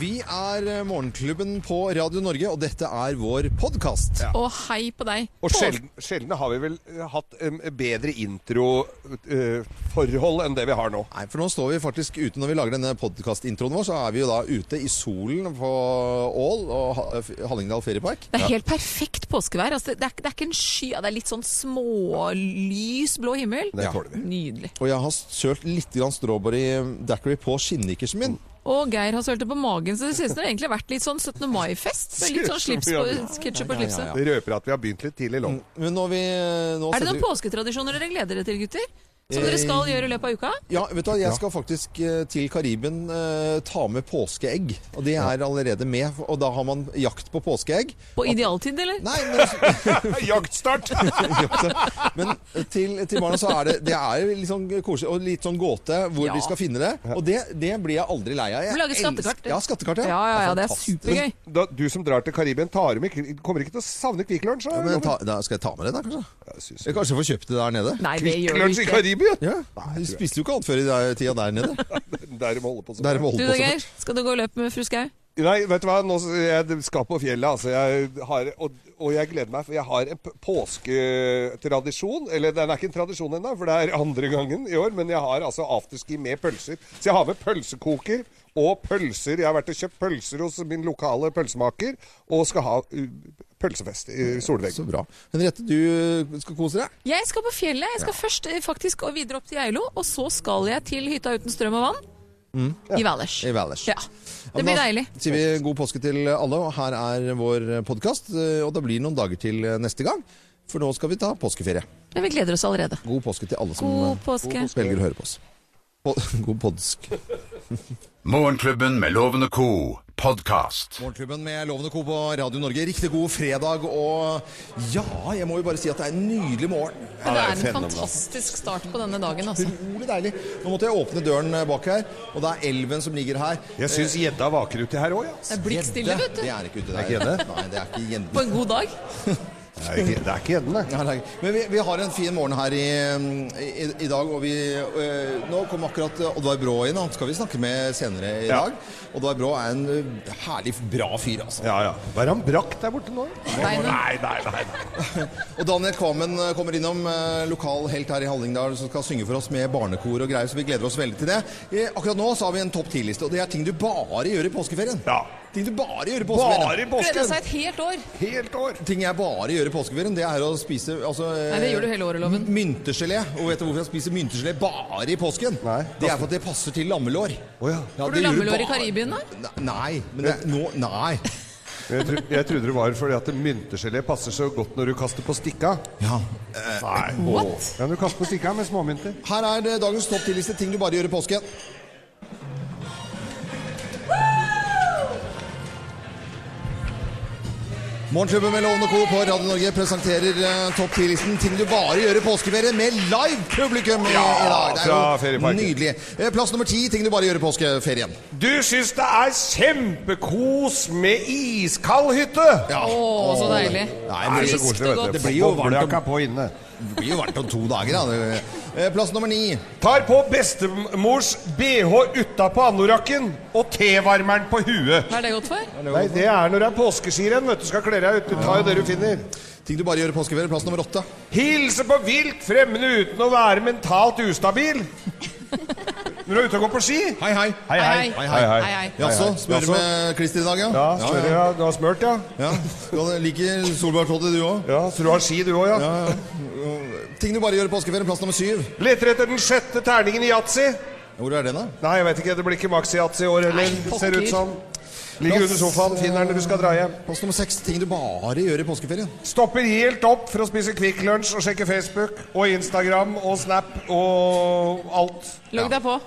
Vi er eh, Morgenklubben på Radio Norge, og dette er vår podkast. Og hei på deg. Og sjelden, sjelden har vi vel eh, hatt em, bedre eh, introforhold enn det vi har nå. Nei, for nå står vi faktisk ute Når vi lager denne podkastintroen vår, så er vi jo da ute i solen på Ål og Ha- eh, F- Hallingdal feriepark. Det er helt perfekt påskevær. Altså, det, er, ikke- det er ikke en sky, ja, det er litt sånn smålys blå himmel. Det tåler vi. Nydelig. Og jeg har sølt litt grann strawberry daiquiri på skinnnikersen min. Og Geir har sølt det på magen, så det synes det har egentlig vært litt sånn 17. mai-fest. Med litt sånn slips på, ketchup på Ja, ja, ja, ja. Mm, slipset. Det røper at vi har begynt litt tidlig lov. Men når vi eh, nå Er det noen setter- påsketradisjoner dere gleder dere til, gutter? Som dere skal gjøre i løpet av uka? Ja, vet du hva, jeg skal faktisk eh, til Kariben eh, ta med påskeegg. Og de er allerede med, og da har man jakt på påskeegg. På idealtid, eller? Nei, men Jaktstart! Men Eh, til, til barna så er det Det er litt sånn koselig og litt sånn gåte hvor Ja. vi skal finne det. Og det, det blir jeg aldri lei av. Jeg Du lager elsker- skattekart. Ja, skattekart. Ja, ja, ja, det er fantastisk. supergøy. Da, du som drar til Karibien, tar med, kommer ikke til å savne Kvikk Lunsj? da, Ja, men Loven? ta, da skal jeg ta med det, da, kanskje? Jeg synes Jeg kanskje får kjøpt det der nede? Nei, det Kvikk gjør du Lunsj i ikke. Karibien? Ja, Vi spiste jo ikke alt før i der- tida der nede. Der må holde på sånn. Der må Du holde da, på sånn. Geir? Skal du gå og løpe med fru Skau? Nei, vet du hva? Nå, s- jeg skal på fjellet, altså. Jeg har, og, og jeg gleder meg, for jeg har en p- påsketradisjon. Eller den er ikke en tradisjon ennå, for det er andre gangen i år. Men jeg har altså afterski med pølser. Så jeg har med pølsekoker og pølser. Jeg har vært og kjøpt pølser hos min lokale pølsemaker, og skal ha uh, pølsefest i Så Solveggen. bra. Henriette, du uh, skal kose deg. Jeg skal på fjellet. Jeg skal først eh, faktisk og videre opp til Geilo, og så skal jeg til hytta uten strøm og vann. Mm. I Valers. I Valers. Ja. Det blir deilig. Da sier vi god påske til alle, og her er vår podkast. Og det blir noen dager til eh, neste gang, for nå skal vi ta påskeferie. Men vi gleder oss allerede. God påske til alle som God eh, påske. velger å høre på oss. Po- God podsk. Morgenklubben med Loven og co. podkast. Morgenklubben med Loven og Co. på Radio Norge. Riktig god fredag og ja, jeg må jo bare si at det er en nydelig morgen. Det er en fantastisk start på denne dagen, altså. Utrolig deilig. Nå måtte jeg åpne døren bak her, og det er elven som ligger her. Jeg syns gjedda vaker uti her òg, ja. Det er blikkstille, Gjedde. vet du. Det er ikke ute Det er ikke gjedde? Nei, det er ikke På gjedde. en god dag. Det er ikke- det er ikke gjedden, det. Nei, det er ikke- Men vi, vi har en fin morgen her i, i, i dag, og vi øh, Nå kom akkurat Oddvar Brå inn, han skal vi snakke med senere i Ja. dag. Oddvar Brå er en øh, herlig bra fyr, altså. Ja, ja. Hva er han brakk der borte nå? Nei, nå- nei, nei. nei, nei. Og Daniel Kvammen eh, kommer innom, eh, lokal helt her i Hallingdal, som skal synge for oss med barnekor og greier, så vi gleder oss veldig til det. Eh, Akkurat nå så har vi en topp 10-liste, og det er ting du bare gjør i påskeferien. Ja. Ting du bare gjør i påskeferien. Bare i Gleda påsken! seg et helt år. Helt år! Ting jeg bare gjør i påskeferien, det er å spise altså, eh, Nei, det gjør du hele året, Loven. myntegelé. Og vet du hvorfor jeg spiser myntegelé bare i påsken? Nei. Det er for at det passer til lammelår. Å ja. Ja, Får det du gjør lammelår i bare- Karibien, da? Ne- Nei, men det, nå, nei. Jeg, tro, jeg trodde det var fordi at myntegelé passer så godt når du kaster på stikka. Ja. Nei. What? Ja, du kaster på stikka med småmynter. Eh, Her er det dagens topp 10-liste ting du bare gjør i påsken. Morgenklubben med Lovende Co. på Radio Norge presenterer eh, topp 10-listen ting du bare gjør i påskeferie med live publikum i, i dag. Det fra er jo ferieparken. nydelig. Eh, Plass nummer ti ting du bare gjør i påskeferien. Du syns det er kjempekos med iskald hytte! Ja. Å, så deilig. Nei, Det men er det så Friskt koselig, og vet godt. du. Det blir jo varmt om- Boblejakka på inne. blir jo varmt om to dager, da. Eh, Plass nummer ni. Tar på bestemors bh utapå anorakken og tevarmeren på huet. Hva er det godt for? Nei, det er når det er påskeskirenn, vet du. Skal kle deg ut. Du tar jo det du finner. Ting du bare gjør i påskeferie. Plass nummer åtte. Hilse på vilt fremmede uten å være mentalt ustabil. Når du er ute og går på ski. Hei, hei. Hei, hei. Hei, hei. Hei, hei. Jaså, smører Jaså. med klister i dag, ja? Ja, smør, ja. Du har smørt, ja? Ja, du liker solbærtoddy du òg. Ja, Så du har ski, du òg, ja. Ting du bare gjør i påskeferien, plass nummer syv. Leter etter den sjette terningen i yatzy. Hvor er den, da? Nei, jeg vet ikke. Det blir ikke maxi-yatzy i år heller, Nei, ser det ut som. Ligger under sofaen, finner den når du skal dra hjem. Plass nummer seks. Ting du bare gjør i påskeferien. Stopper helt opp for å spise Kvikk Lunsj og sjekke Facebook og Instagram og Snap og alt. Logg deg på.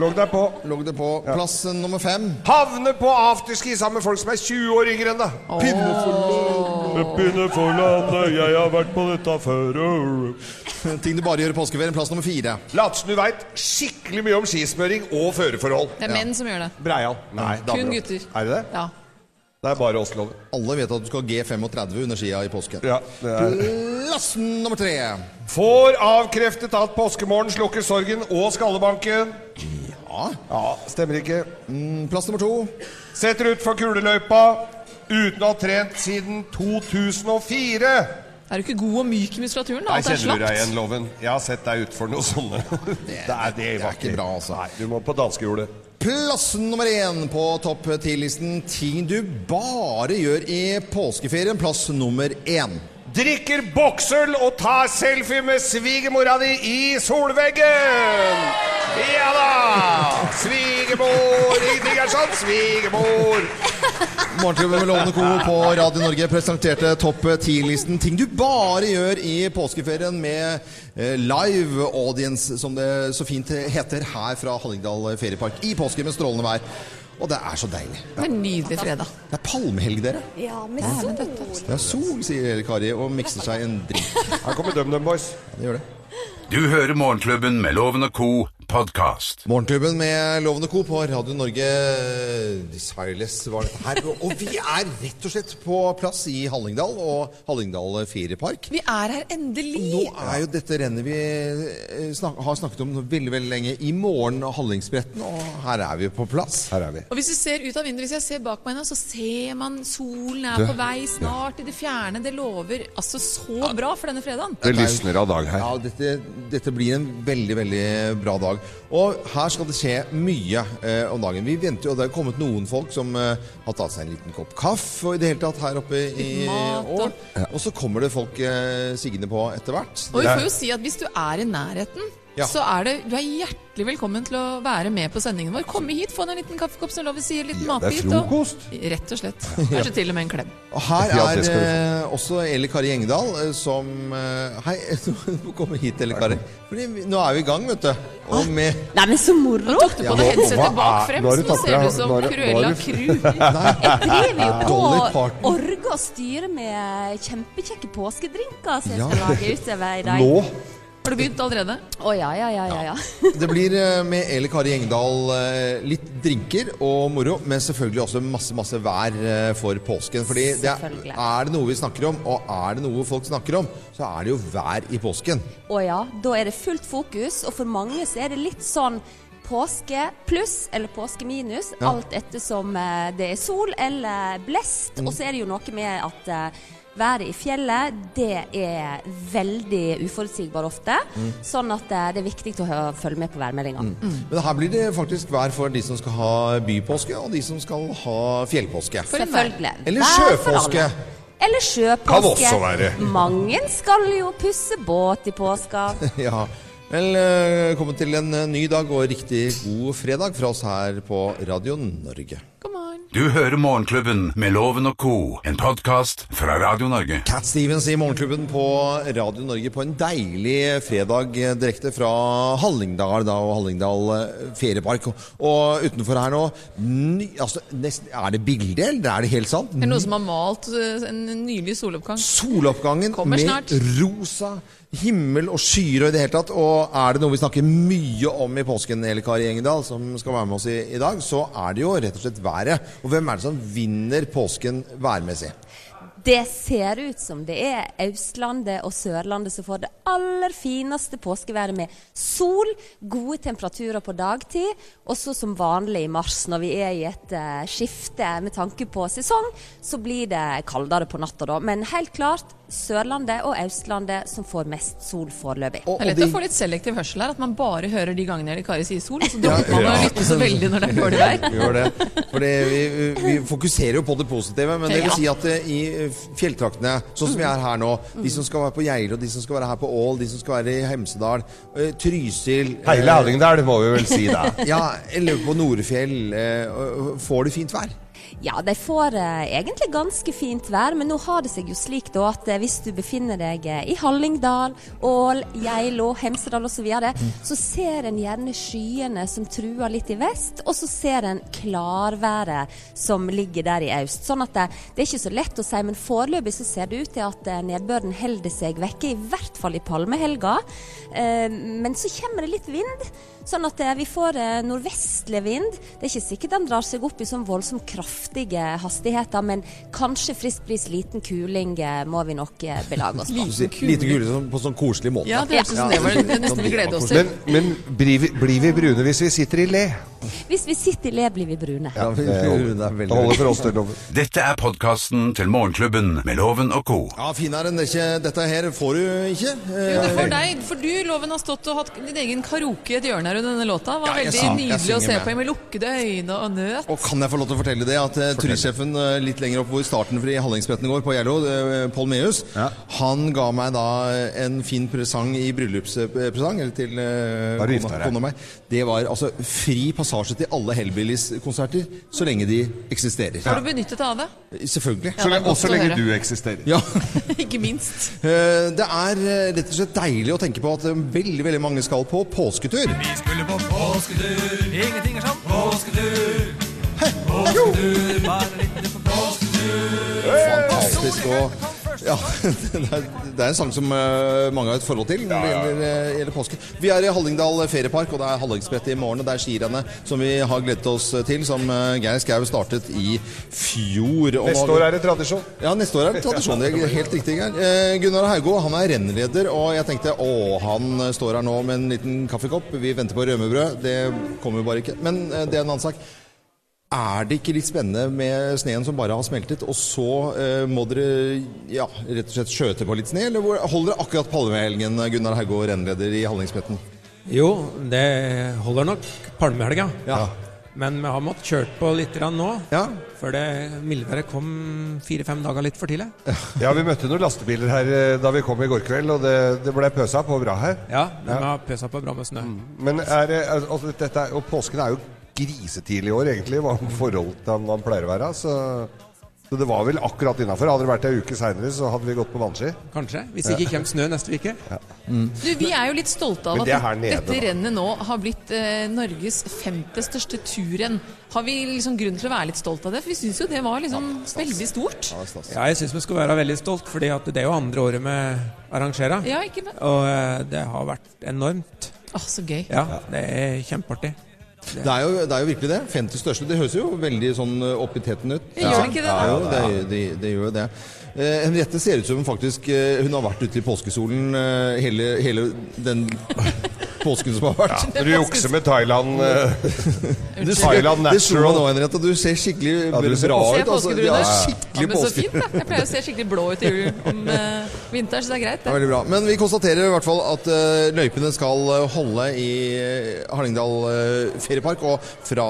Logg deg på. Logg det på. Plass eh, nummer fem. Havne på afterski sammen med folk som er 20 år yngre enn deg. Pinne for Pinne for landet, jeg har vært på dette før. lov. Ting du bare gjør i påskeferien, plass nummer fire. Lat som du veit skikkelig mye om skismøring og føreforhold. Det er menn som gjør det. Breial. Nei, Kun damer. gutter. Er det det? Ja. Det er bare Oslo-loven. Alle vet at du skal ha G35 under skia i påsken. Ja, det er. Plass nummer tre. Får avkreftet at påskemorgen slukker sorgen og skallebanken. Ja. Mm, Ja, stemmer ikke. Plass nummer to. Setter ut for kuleløypa uten å ha trent siden 2004. Er du ikke god og myk i muskulaturen? da? Nei, Alt er kjenner du deg slapt. igjen, Loven. Jeg har sett deg utfor noe sånne. Det er, det er ikke bra, altså. Nei, du må på danskehjulet. Plass nummer én på topp ti-listen. Ting du bare gjør i påskeferien. Plass nummer én. Drikker boksøl og tar selfie med svigermora di i solveggen! Ja da! Svigermor! Ingenting er sånn, svigermor! Morgenklubben med Lovende Co. på Radio Norge presenterte topp ti-listen ting du bare gjør i påskeferien med eh, live audience, som det så fint heter her fra Hallingdal feriepark i påsken med strålende vær. Og det er så deilig. Det er en nydelig fredag. Det er palmehelg, dere. Ja, med sol. Det er sol, sier Kari og mikser seg en drink. Her kommer DumDum Boys. Ja, det gjør det. Du hører Morgenklubben med Loven og Co. podkast. Morgenklubben med Lovende Co. på Radio Norge. Desireless var dette her. Og vi er rett og slett på plass i Hallingdal og Hallingdal feriepark. Vi er her endelig! Nå er jo dette rennet vi eh, snak har snakket om veldig veldig lenge. I morgen Hallingsbretten, og her er vi på plass. Her er vi. Og hvis du ser ut av vinduet, hvis jeg ser bak meg nå, så ser man solen er på vei snart i det fjerne. Det lover altså så bra for denne fredagen. Det lysner av dag her. Ja, dette, dette blir en veldig, veldig bra dag. Og her skal det skje mye eh, om dagen. Vi venter jo, og det er kommet noen folk som eh, har tatt seg en liten kopp kaffe og i det hele tatt her oppe i Litt mat og- år. Og så kommer det folk eh, sigende på etter hvert. Og vi får jo si at hvis du er i nærheten, Ja. så er det, du er hjertelig velkommen til å være med på sendingen vår. Komme hit, få deg en liten kaffekopp som Lovet sier, en liten matbit. og- Rett og slett. Kanskje til og med en klem. Og her Ja, er det skal du eh, også Eli Kari Engedal eh, som eh, Hei, du kommer hit, Eli Kari. Fordi vi- Nå er vi i gang, vet du. Og med Nei, men så moro! Tok Ah, du på deg hva headsetet er- bak frem, nå så har nå du tatt ser deg- du ut som nå har du- nå har Cruella du- Crew. Jeg driver jo på Dolly å Parton. orge og styre med kjempekjekke påskedrinker som jeg Ja. skal lage utover i dag. Nå? Har du begynt allerede? Å ja, ja, ja, ja. ja. Det blir eh, med Eli Kari Engdahl eh, litt drinker og moro, men selvfølgelig også masse masse vær eh, for påsken. Fordi det er, Selvfølgelig. er det noe vi snakker om, og er det noe folk snakker om, så er det jo vær i påsken. Å ja, da er det fullt fokus, og for mange så er det litt sånn påske pluss eller påske minus, Ja. alt ettersom eh, det er sol eller blest. Mm. Og så er det jo noe med at eh, været i fjellet, det er veldig uforutsigbart ofte. Mm. Sånn at eh, det er viktig å hø- følge med på værmeldinga. Mm. Men her blir det faktisk vær for de som skal ha bypåske, og de som skal ha fjellpåske. For en Selvfølgelig. Eller Vær for sjøpåske. alle. Eller sjøpåske. Kan også være. Mange skal jo pusse båt i påska. Ja. Velkommen til en eh, ny dag og riktig god fredag fra oss her på Radio Norge. Come on. Du hører Morgenklubben med Loven og Co., en podkast fra Radio Norge. Cat Stevens i Morgenklubben på Radio Norge på en deilig fredag eh, direkte fra Hallingdal da, og Hallingdal eh, feriepark. Og, og utenfor her nå ny, altså, nesten, Er det bilde, eller er det helt sant? Er det noen som har malt eh, en nylig soloppgang? Soloppgangen Kommer med snart. rosa himmel og skyer og i det hele tatt. Og er det noe vi snakker mye om i påsken, Eli Kari Engedal, som skal være med oss i, i dag, så er det jo rett og slett været. Og hvem er det som vinner påsken værmessig? Det ser ut som det er Østlandet og Sørlandet som får det aller fineste påskeværet med sol, gode temperaturer på dagtid, og så som vanlig i mars når vi er i et eh, skifte med tanke på sesong, så blir det kaldere på natta da. Men helt klart Sørlandet og Østlandet som får mest sol foreløpig. Og- Det er og lett å de- få litt selektiv hørsel her, at man bare hører de gangene Eli Kari sier sol, og så dumper Ja, man å ja. lytte så veldig når det er dårlig vær. Gjør det. Fordi vi, vi fokuserer jo på det positive, men det vil Ja. si at eh, i eh, fjelltraktene, sånn som vi er her nå De som skal være på Geilo, de som skal være her på Ål, de som skal være i Hemsedal, eh, Trysil eh, Hele Hallingdal, må vi vel si da. Ja, eller på Nordfjell eh, og- og Får det fint vær? Ja, de får eh, egentlig ganske fint vær, men nå har det seg jo slik da at eh, hvis du befinner deg eh, i Hallingdal, Ål, Geilo, Hemsedal osv., så, videre, så ser en gjerne skyene som truer litt i vest, og så ser en klarværet som ligger der i øst. Sånn at det, det er ikke så lett å si, men foreløpig så ser det ut til at eh, nedbøren holder seg vekke, i hvert fall i palmehelga. Eh, Men så kommer det litt vind. Sånn at eh, vi får eh, nordvestlig vind. Det er ikke sikkert den drar seg opp i sånn voldsomt kraftige hastigheter, men kanskje frisk bris, liten kuling eh, må vi nok eh, belage oss på. Lite gule sånn, på sånn koselig måte. Ja, det hørtes ut som det var det nesten vi gleder oss til. Men, men blir, vi, blir vi brune hvis vi sitter i le? Hvis vi sitter i le, blir vi brune. Ja, vi- Det Rune er holder, veldig- det holder for oss, det lover. Dette er podkasten til Morgenklubben med Loven og co. Ja, finere enn det ikke, dette her får du ikke. Eh, Jo, det får deg, for du, Loven, har stått og hatt din egen karaoke i et hjørne her under denne låta. Var Ja, jeg veldig synger- jeg nydelig å synger se med. på med lukkede øyne og nøt. Og kan jeg få lov til å fortelle det at eh, turistsjefen eh, litt lenger opp hvor starten for i Hallingsbretten går, på Gjerlo, eh, Pål Mehus, Ja. han ga meg da eh, en fin presang i bryllupspresang eller til eh, Har du gifta kona, deg? kona meg. Det var altså fri passasje til alle Hellbillies-konserter så lenge de eksisterer. Har du benyttet deg av det? Selvfølgelig. Så det er le- godt og så å lenge høre. du eksisterer. Ja. Ikke minst. Eh, Det er eh, rett og slett deilig å tenke på at eh, veldig, veldig mange skal på påsketur. Ingenting er sånn. Påsketur. Påsketur, bare litt på påsketur. Fantastisk og ja, det, er, det er en sang som eh, mange har et forhold til når det gjelder, eh, gjelder påske. Vi er i Hallingdal feriepark, og det er Hallingsbrettet i morgen. Og det er skirennet som vi har gledet oss til, som eh, Geir Skau startet i fjor. Og Neste år er det tradisjon. ja, neste år er det tradisjon. Det er helt riktig. Geir. Eh, Gunnar Haugå han er rennleder, og jeg tenkte å, han står her nå med en liten kaffekopp. Vi venter på rømmebrød. Det kommer jo bare ikke. Men eh, det er en annen sak. Er det ikke litt spennende med sneen som bare har smeltet, og så eh, må dere ja, rett og slett skjøte på litt sne? Eller hvor- holder dere akkurat palmehelgen, Gunnar Haugå, rennleder i Hallingsbretten? Jo, det holder nok palmehelga. Ja. Men vi har måttet kjørt på litt grann nå. Ja. For det mildværet kom fire-fem dager litt for tidlig. Ja, vi møtte noen lastebiler her eh, da vi kom i går kveld, og det, det ble pøsa på bra her. Ja, men vi har pøsa på bra med snø. Men er, det- al- altså, dette er, og påsken er jo grisetidlig i år, egentlig, hva forholdet til hva den pleier å være. Så, så det var vel akkurat innafor. Hadde det vært ei uke seinere, så hadde vi gått på vannski. Kanskje. Hvis ikke kommer snø neste uke. Du, vi er jo litt stolte av Men at det er her nede, dette da. rennet nå har blitt eh, Norges femte største turrenn. Har vi liksom grunn til å være litt stolte av det? For vi syns jo det var liksom veldig stort. Ja, jeg syns vi skal være veldig stolt, fordi at det er jo andre året vi arrangerer. Ja, ikke men... Og eh, det har vært enormt. Å, så gøy. Ja, det er kjempeartig. Det er, jo, det er jo virkelig det. 50 største. Det høres jo veldig sånn eh, opp i teten ut. Ja. Gjør det ikke det, da? Ja, jo, det, er- det, det gjør jo det. Eh, Henriette ser ut som hun faktisk eh, Hun har vært ute i påskesolen eh, hele, hele den påsken som har vært. Når du jukser med Thailand eh, Du ser- Thailand det slo meg Natural. nå, Henriette, at du ser skikkelig Ja, du ser Ser bra ut. jeg altså. påskebrune? Ja, Ja, skikkelig men så påske. fint, da. Jeg pleier å se skikkelig blå ut i julen om eh, vinteren, så det er greit. Det er Det. veldig bra. Men vi konstaterer i hvert fall at eh, løypene skal eh, holde i eh, Hallingdal eh, feriepark, og fra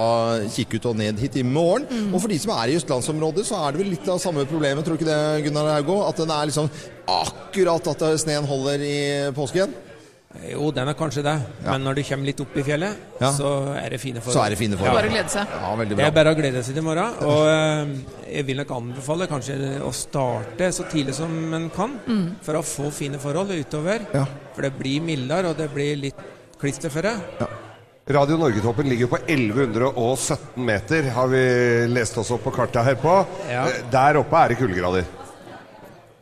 Kikkut og ned hit i morgen. Mm. Og for de som er i østlandsområdet, så er det vel litt av samme problemet, tror du ikke det, Gunnar Haugå? At den er liksom akkurat at eh, sneen holder i påsken, Eh, Jo, den er kanskje det. Men når du kommer litt opp i fjellet, Ja. så er det fine forhold. så er det fine forhold. Bare å glede seg. Ja, veldig Det bra. er bare å glede seg til i morgen. Og eh, jeg vil nok anbefale kanskje å starte så tidlig som en kan, Mm. for å få fine forhold utover. Ja. For det blir mildere, og det blir litt klisterføre. Radio Norgetoppen ligger på 1117 meter, har vi lest oss opp på kartet her på. Ja. Eh, Der oppe er det kuldegrader.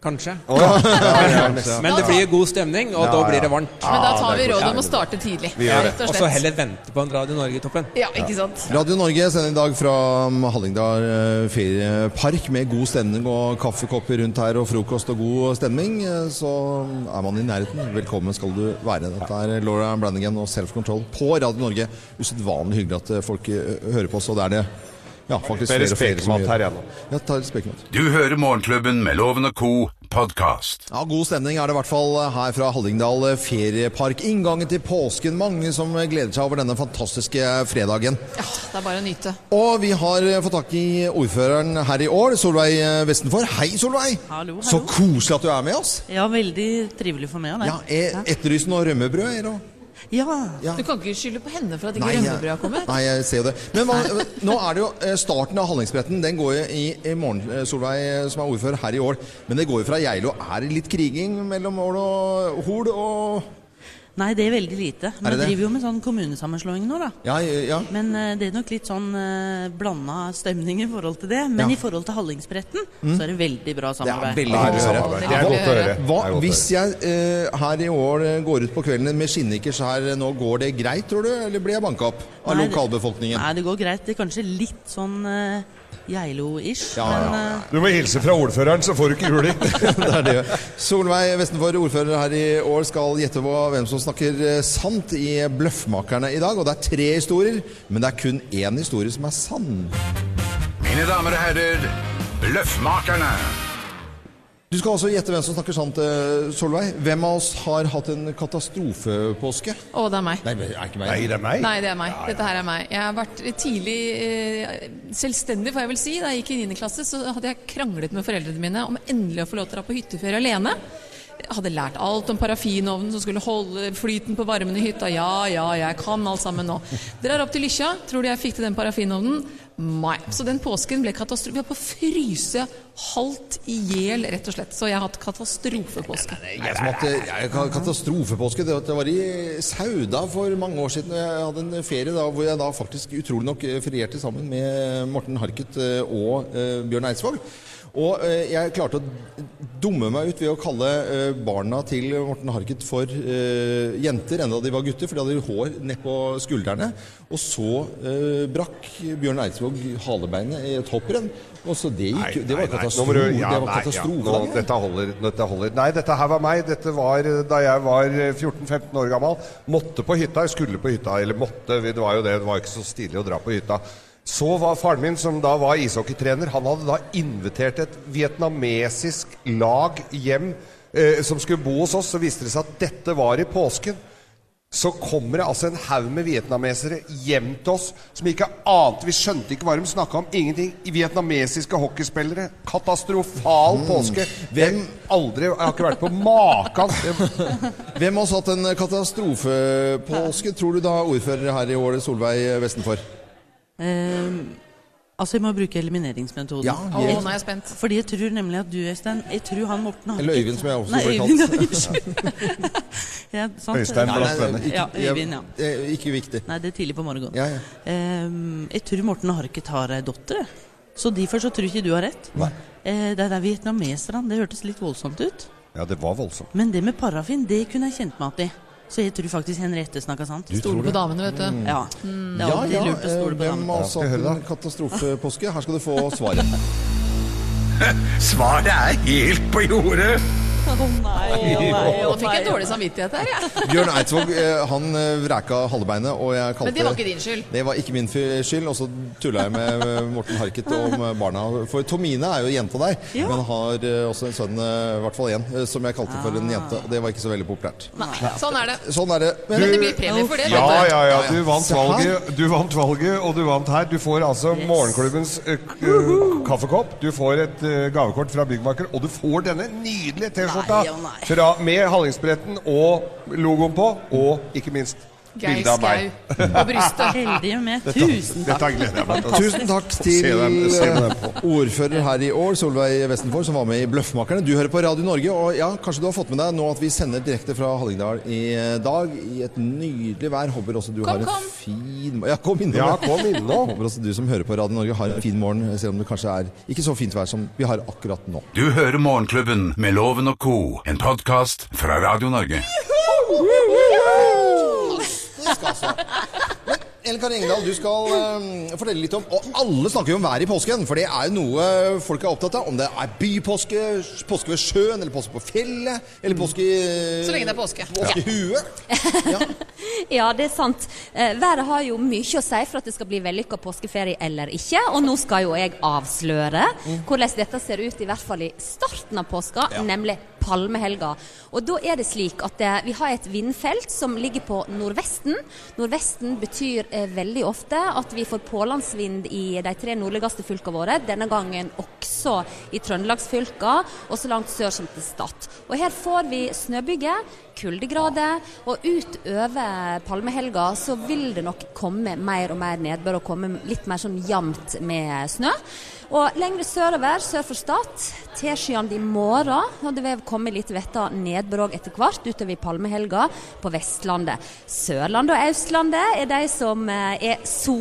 Kanskje. Ja. Men det blir god stemning, og da blir det varmt. Men da Ja, tar det vi er rådet om koselig. å starte tidlig, Vi gjør det. rett og Og så slett. heller vente på en Radio Norge-toppen. Ja, ikke sant. Radio Norge sender i dag fra um, Hallingdal eh, feriepark med god stemning og kaffekopper rundt her og frokost og god stemning. eh, Så er man i nærheten. Velkommen skal du være. Dette er Laura Brannigan og Self Control på Radio Norge. Usedvanlig hyggelig at eh, folk eh, hører på oss, og det er det ja, faktisk Mer flere og flere som spekemat gjør. her igjen nå. Ja, ta litt spekemat. Du hører Morgenklubben med Loven og co. podkast. Ja, God stemning er det i hvert fall eh, her fra Hallingdal eh, feriepark. Inngangen til påsken. Mange som eh, gleder seg over denne fantastiske fredagen. Ja, det er bare å nyte. Og vi har eh, fått tak i ordføreren her i år, Solveig eh, Vestenfor. Hei, Solveig! Hallo, hallo. Så koselig at du er med oss. Ja, veldig trivelig for meg. Ja, Ja, er Etterlysen og rømmebrød? Er det? ja. Ja. Du kan ikke skylde på henne for at ikke Nei, jeg- rømmebrødet har kommet. Nei, jeg ser jo det. Men hva, nå er det jo eh, starten av Hallingsbretten. Den går jo i, i morgen, eh, Solveig, eh, som er ordfører her i år. Men det går jo fra Geilo. Er det litt kriging mellom Ål og Hol og Nei, det er veldig lite. Er Vi det det? driver jo med sånn kommunesammenslåing nå, da. Ja, ja. Men eh, det er nok litt sånn eh, blanda stemning i forhold til det. Men Ja. i forhold til Hallingsbretten så Mm. er det veldig bra Det er samarbeid. veldig hyggelig å høre. Hva, Det er godt å hvis jeg eh, her i år eh, går ut på kvelden med skinnikers her, eh, nå går det greit, tror du? Eller blir jeg banka opp Nei, av det- lokalbefolkningen? Nei, det går greit. Det er kanskje litt sånn eh, Geilo-ish. Ja, men ja, ja. eh, Du må hilse fra ordføreren, så får du ikke juling. det er det. Solveig Vestenfor, ordfører her i år, skal gjette på hvem som snakker eh, sant i Bløffmakerne i dag. Og det er tre historier, men det er kun én historie som er sann. Mine damer og herrer, Bløffmakerne. Du skal også gjette hvem som snakker sant, eh, Solveig. Hvem av oss har hatt en katastrofepåske? Å, det er meg. Nei, men det er ikke meg. Nei, det er meg. Nei, det er meg. Dette her er meg. Jeg har vært tidlig eh, selvstendig, får jeg vel si. Da jeg gikk i 9. klasse, så hadde jeg kranglet med foreldrene mine om endelig å få lov til å dra på hytteferie alene. Jeg hadde lært alt om parafinovnen som skulle holde flyten på varmen i hytta. Ja, ja, jeg kan alt sammen nå. Drar opp til Lykkja. Tror du jeg fikk til den parafinovnen? Nei. Så den påsken ble katastrofe. Vi er på å fryse halvt i hjel, rett og slett. Så jeg har hatt katastrofepåske. Jeg som hatt eh, jeg ka- katastrofepåske. Det det var i Sauda for mange år siden. og Jeg hadde en ferie da, hvor jeg da faktisk utrolig nok eh, ferierte sammen med Morten Harket eh, og eh, Bjørn Eidsvåg. Og eh, jeg klarte å dumme meg ut ved å kalle eh, barna til Morten Harket for eh, jenter, enda de var gutter, for de hadde hår nedpå skuldrene. Og så eh, brakk Bjørn Eidsvåg halebeinet i et hopprenn. Og så det gikk jo Det var Nå må katastrofe. du- ja, det var nei, ja, katastrofe. nå- dette, holder, dette holder. Nei, dette her var meg. Dette var eh, da jeg var eh, 14-15 år gammel. Måtte på hytta. Jeg skulle på hytta. Eller måtte, det var jo det. Det var ikke så stilig å dra på hytta. Så var faren min, som da var ishockeytrener, han hadde da invitert et vietnamesisk lag hjem eh, som skulle bo hos oss. Så viste det seg at dette var i påsken. Så kommer det altså en haug med vietnamesere hjem til oss som ikke ante Vi skjønte ikke hva de snakka om. Ingenting. Vietnamesiske hockeyspillere. Katastrofal påske. Mm. Hvem aldri Jeg har ikke vært på makan. Hvem av oss har hatt en katastrofepåske, tror du da, ordfører her i år, Solveig Vestenfor? Ehm, altså, jeg må bruke elimineringsmetoden. Ja, Å, jeg- nå er jeg spent. Fordi jeg tror nemlig at du, Øystein Jeg tror han Morten har Eller ikke- Øyvind, som jeg også Nei, ble kalt. Øyvind, ja, unnskyld. ja, sant. Øystein Ja, blant venner. Ja, Øyvind, ja. eh, Ikke viktig. Nei, det er tidlig på morgenen. Ja, ja. Ehm, jeg tror Morten Harket har ei datter, jeg. så derfor så tror ikke du har rett. Eh, det er vietnameserne. Det hørtes litt voldsomt ut. Ja, det var voldsomt. Men det med parafin, det kunne jeg kjent meg igjen i. Så jeg tror faktisk Henriette snakka sant. Du Stole tror på det? damene, vet du. Mm. Ja. Det er Ja, alltid ja, lurt å stole på eh, hvem damene. av oss har hatt en katastrofepåske? Her skal du få svaret. Svaret er helt på jordet. Å nei, å nei, Nå fikk jeg dårlig samvittighet her, jeg. Bjørn Eidsvåg eh, han eh, vraka halebeinet, og jeg kalte Men det var ikke din skyld. Det var ikke min fy- skyld. Og så tulla jeg med eh, Morten Harket om eh, barna. For Tomine er jo jenta der, Ja. men har eh, også en sønn, eh, i hvert fall én, eh, som jeg kalte for en jente. Og det var ikke så veldig populært. Nei, sånn er det. Sånn er det. Men det blir premie for det, Ja, vet du. ja, ja. Du vant Se her. valget, du vant valget og du vant her. Du får altså morgenklubbens eh, k- eh, kaffekopp. Du får et eh, gavekort fra Byggmaker, og du får denne nydelige T-skjorta Nei, å nei. fra- med Hallingsbretten og logoen på, og ikke minst Geir bilde av meg. Skau på brystet. Heldige med. Dette- Tusen takk. dette gleder jeg meg til å se. Tusen takk altså, Se til dem- se dem eh, ordfører her i år, Solveig Vestenfor, som var med i Bløffmakerne. Du hører på Radio Norge, og ja, kanskje du har fått med deg nå at vi sender direkte fra Hallingdal i eh, dag i et nydelig vær. Håper også du Kom, har en kom. fin morgen. Ja, kom innom. Ja, kom innom. Håper også du som hører på Radio Norge har en fin morgen, selv om det kanskje er ikke så fint vær som vi har akkurat nå. Du hører Morgenklubben med Loven og co., en podkast fra Radio Norge. Det skal så. Men Ellen Kari Engdahl, du skal eh, fortelle litt om Og alle snakker jo om været i påsken, for det er jo noe folk er opptatt av. Om det er bypåske, påske ved sjøen, eller påske på fjellet, eller påske i Så lenge det er påske. påske i huet. Ja, det er sant. Eh, været har jo mye å si for at det skal bli vellykka påskeferie eller ikke. Og nå skal jo jeg avsløre hvordan dette ser ut, i hvert fall i starten av påska, nemlig palmehelga. Og da er det slik at eh, vi har et vindfelt som ligger på nordvesten. Nordvesten betyr eh, veldig ofte at vi får pålandsvind i de tre nordligste fylkene våre. Denne gangen også i trøndelagsfylka og så langt sør som til Stad. Og her får vi snøbyger, kuldegrader, og utover palmehelga så vil det nok komme mer og mer nedbør og komme litt mer sånn jevnt med snø. Og lengre sørover, sør for Stad, tilskyende i morgen, og det vil komme litt vetta nedbråk etter hvert utover i palmehelga på Vestlandet. Sørlandet og Østlandet er de som eh, er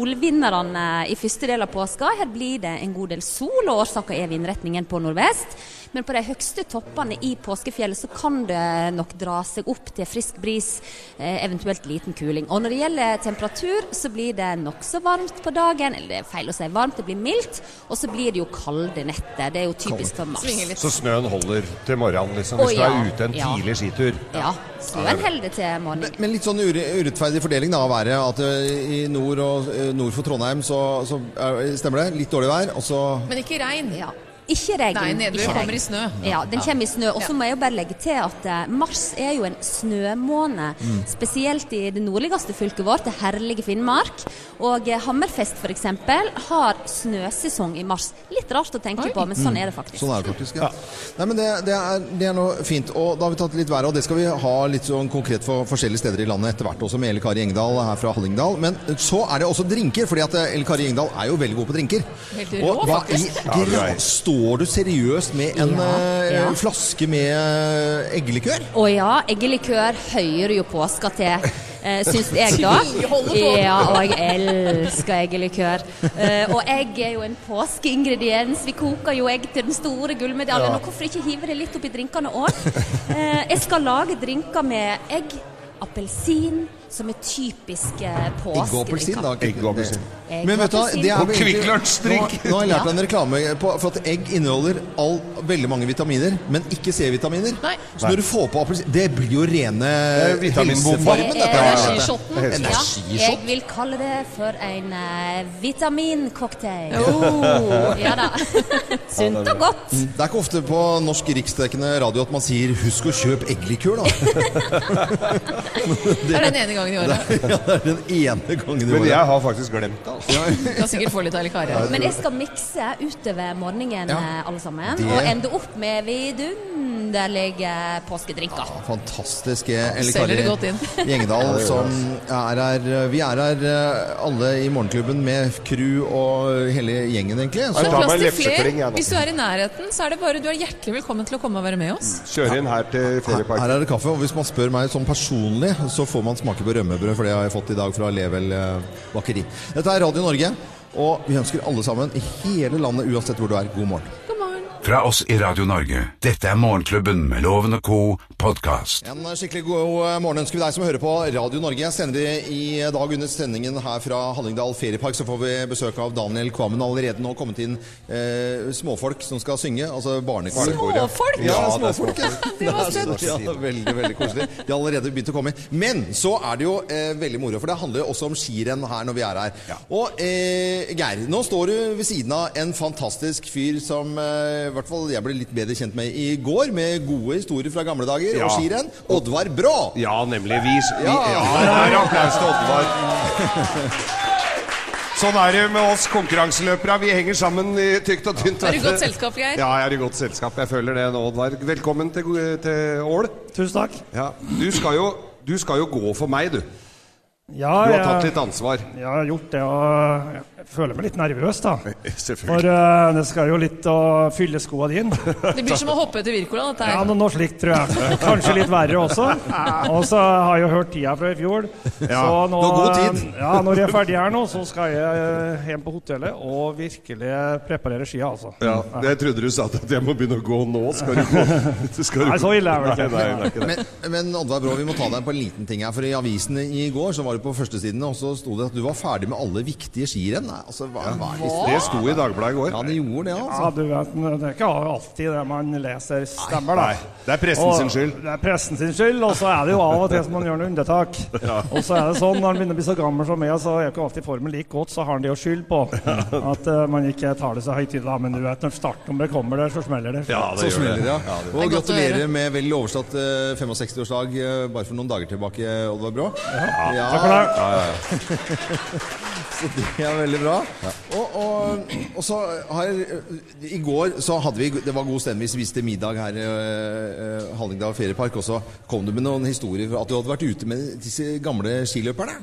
solvinnerne eh, i første del av påska. Her blir det en god del sol, og årsaka er vindretningen på nordvest. Men på de høgste toppene i påskefjellet så kan det nok dra seg opp til frisk bris, eh, eventuelt liten kuling. Og når det gjelder temperatur, så blir det nokså varmt på dagen. Eller det er feil å si varmt, det blir mildt. Og så blir det jo kalde netter. Det er jo typisk for mars. eh, Så snøen holder til morgenen, liksom. Å, Hvis du ja. er ute en Ja. tidlig skitur. Ja, snøen holder det til morgenen. Men litt sånn ure- urettferdig fordeling da, av været. At eh, i nord, og, eh, nord for Trondheim så, så er- stemmer det. Litt dårlig vær, og så Men ikke regn. Ikke regn. Nei, nedbør Ikke regn. kommer i snø. Ja, den kommer i snø. Og så må jeg jo bare legge til at eh, mars er jo en snømåned. Mm. Spesielt i det nordligste fylket vårt, det herlige Finnmark. Og eh, Hammerfest f.eks. har snøsesong i mars. Litt rart å tenke på, men sånn er det faktisk. Sånn er det faktisk, ja. Nei, men det, det, er, det er noe fint. Og da har vi tatt litt været, og det skal vi ha litt sånn konkret for forskjellige steder i landet etter hvert også, med Elle Kari Engdahl her fra Hallingdal. Men så er det også drinker, fordi at eh, Elle Kari Engdahl er jo veldig god på drinker. Helt rå, og hva i faktisk. Ja, du er. gra- Står du seriøst med en eh, ja. flaske med eh, eggelikør? Å ja, eggelikør hører jo påska til. eh, Syns jeg, da. Vi holder på. Ja, og jeg elsker eggelikør. Eh, og egg er jo en påskeingrediens. Vi koker jo egg til den store gullmedaljen. Ja. Og hvorfor ikke hive det litt oppi drinkene òg? Eh, jeg skal lage drinker med egg, appelsin, som er typisk eh, påskedrinker. Egg og appelsin, da. Egg og appelsin. Egg Men og vet du hva, appelsin. det er Og vel egentlig- Kvikk Lunsj-drink. Nå, nå har jeg lært Ja. en reklame på, for at egg inneholder all, veldig mange vitaminer, men ikke C-vitaminer. Så når du får på appelsin Det blir jo rene er vitaminbomba. helsefarmen. dette her. Energishotten. Ja, Energishot. jeg vil kalle det for en eh, vitamincocktail. Oh. Ja da. Sunt og godt. Mm, Det er ikke ofte på norsk riksdekkende radio at man sier 'husk å kjøpe eggelikør', da. Det er den ene gangen i året. Det er, ja, det er den ene gangen i året. Men jeg har faktisk glemt det. Altså. Du kan sikkert få litt av Likari. Men jeg skal mikse utover morgenen, Ja. eh, alle sammen. Det- Og ende opp med vidunderlige påskedrinker. Fantastiske selger det Elle godt inn. Kari Gjengdal som er her Vi er her eh, alle i Morgenklubben med crew og hele gjengen, egentlig. Så det er plass til lefsekling, flere. jeg, nå. Hvis du er i nærheten, så er det bare du er hjertelig velkommen til å komme og være med oss. Kjøre inn her til ferieparken. Her er det kaffe, og hvis man spør meg sånn personlig, så får man smake på rømmebrød, for det har jeg fått i dag fra Level eh, Bakeri. Dette er Radio Norge, og vi ønsker alle sammen i hele landet, uansett hvor du er, god morgen. Fra oss i Radio Norge. Dette er Morgenklubben med Loven og co. podkast. En skikkelig god eh, morgen ønsker vi deg som hører på Radio Norge. Jeg sender i dag under sendingen her fra Hallingdal feriepark, så får vi besøk av Daniel Kvammen. Allerede nå kommet inn eh, småfolk som skal synge, altså barnekor. Barnekor, ja. Småfolk? Ja, Ja, det er småfolk. ja. småfolk. Det var søtt. Ja, veldig, veldig koselig. De har allerede begynt å komme inn. Men så er det jo eh, veldig moro, for det handler jo også om skirenn her når vi er her. Og eh, Geir, nå står du ved siden av en fantastisk fyr som eh, i hvert fall jeg ble litt bedre kjent med i går, med gode historier fra gamle dager Ja. og skirenn. Oddvar Brå. Ja, nemlig. Vi, vi Ja. ja. der er applaus til Oddvar. Sånn er det med oss konkurranseløpere. Vi henger sammen i tykt og tynt. Er du i godt selskap, Geir? Ja, jeg er i godt selskap. Jeg føler det nå, Oddvar. Velkommen til, go- til Ål. Tusen takk. Ja. Du, skal jo, du skal jo gå for meg, du. Ja, Du har jeg- tatt litt ansvar. Jeg har gjort det, og jeg føler meg litt nervøs, da. For Selvfølgelig. eh, det skal jo litt å fylle skoa dine. Mm. Det blir som å hoppe etter Wirkola, dette Ja, her. men noe slikt, tror jeg. Kanskje litt verre også. Og så har jeg jo hørt tida fra i fjor. Ja, så nå, eh, du har god tid. Ja, når jeg er ferdig her nå, så skal jeg eh, hjem på hotellet og virkelig preparere skia, altså. Ja, jeg trodde du sa at jeg må begynne å gå nå. Skal du gå? Skal du Nei, gå? så ille er det ikke. Nei, nei, det er ikke det. Men, men Oddvar Brå, vi må ta deg på en liten ting her. For i avisen i går så var det på førstesiden, og så sto det at du var ferdig med alle viktige skirenn. Nei, Altså, hva, hva er Det sto i Dagbladet i går. Ja, det gjorde det, Ja, altså. du vet, men Det er ikke alltid det man leser stemmer, da. Nei, det er pressen Og- sin skyld. Det er pressen sin skyld, og så er det jo av og til som man gjør noen unntak. Og så er det sånn, når man begynner å bli så gammel som meg, så er jo ikke alltid formen like godt, så har han det å skylde på. At eh, man ikke tar det så høytidelig, da. Men du vet, når startnummeret kommer der, så smeller det. så smeller det, ja. Og Det er godt å gratulerer høre. med vel overstått eh, 65-årsdag eh, bare for noen dager tilbake, Oddvar Brå. Ja. Takk for det. Ja, ja, ja. Så det er veldig bra. Og, og, og så har I går så hadde vi Det var god stemning. Vi spiste middag her i eh, Hallingdal feriepark, og så kom du med noen historier fra at du hadde vært ute med disse gamle skiløperne.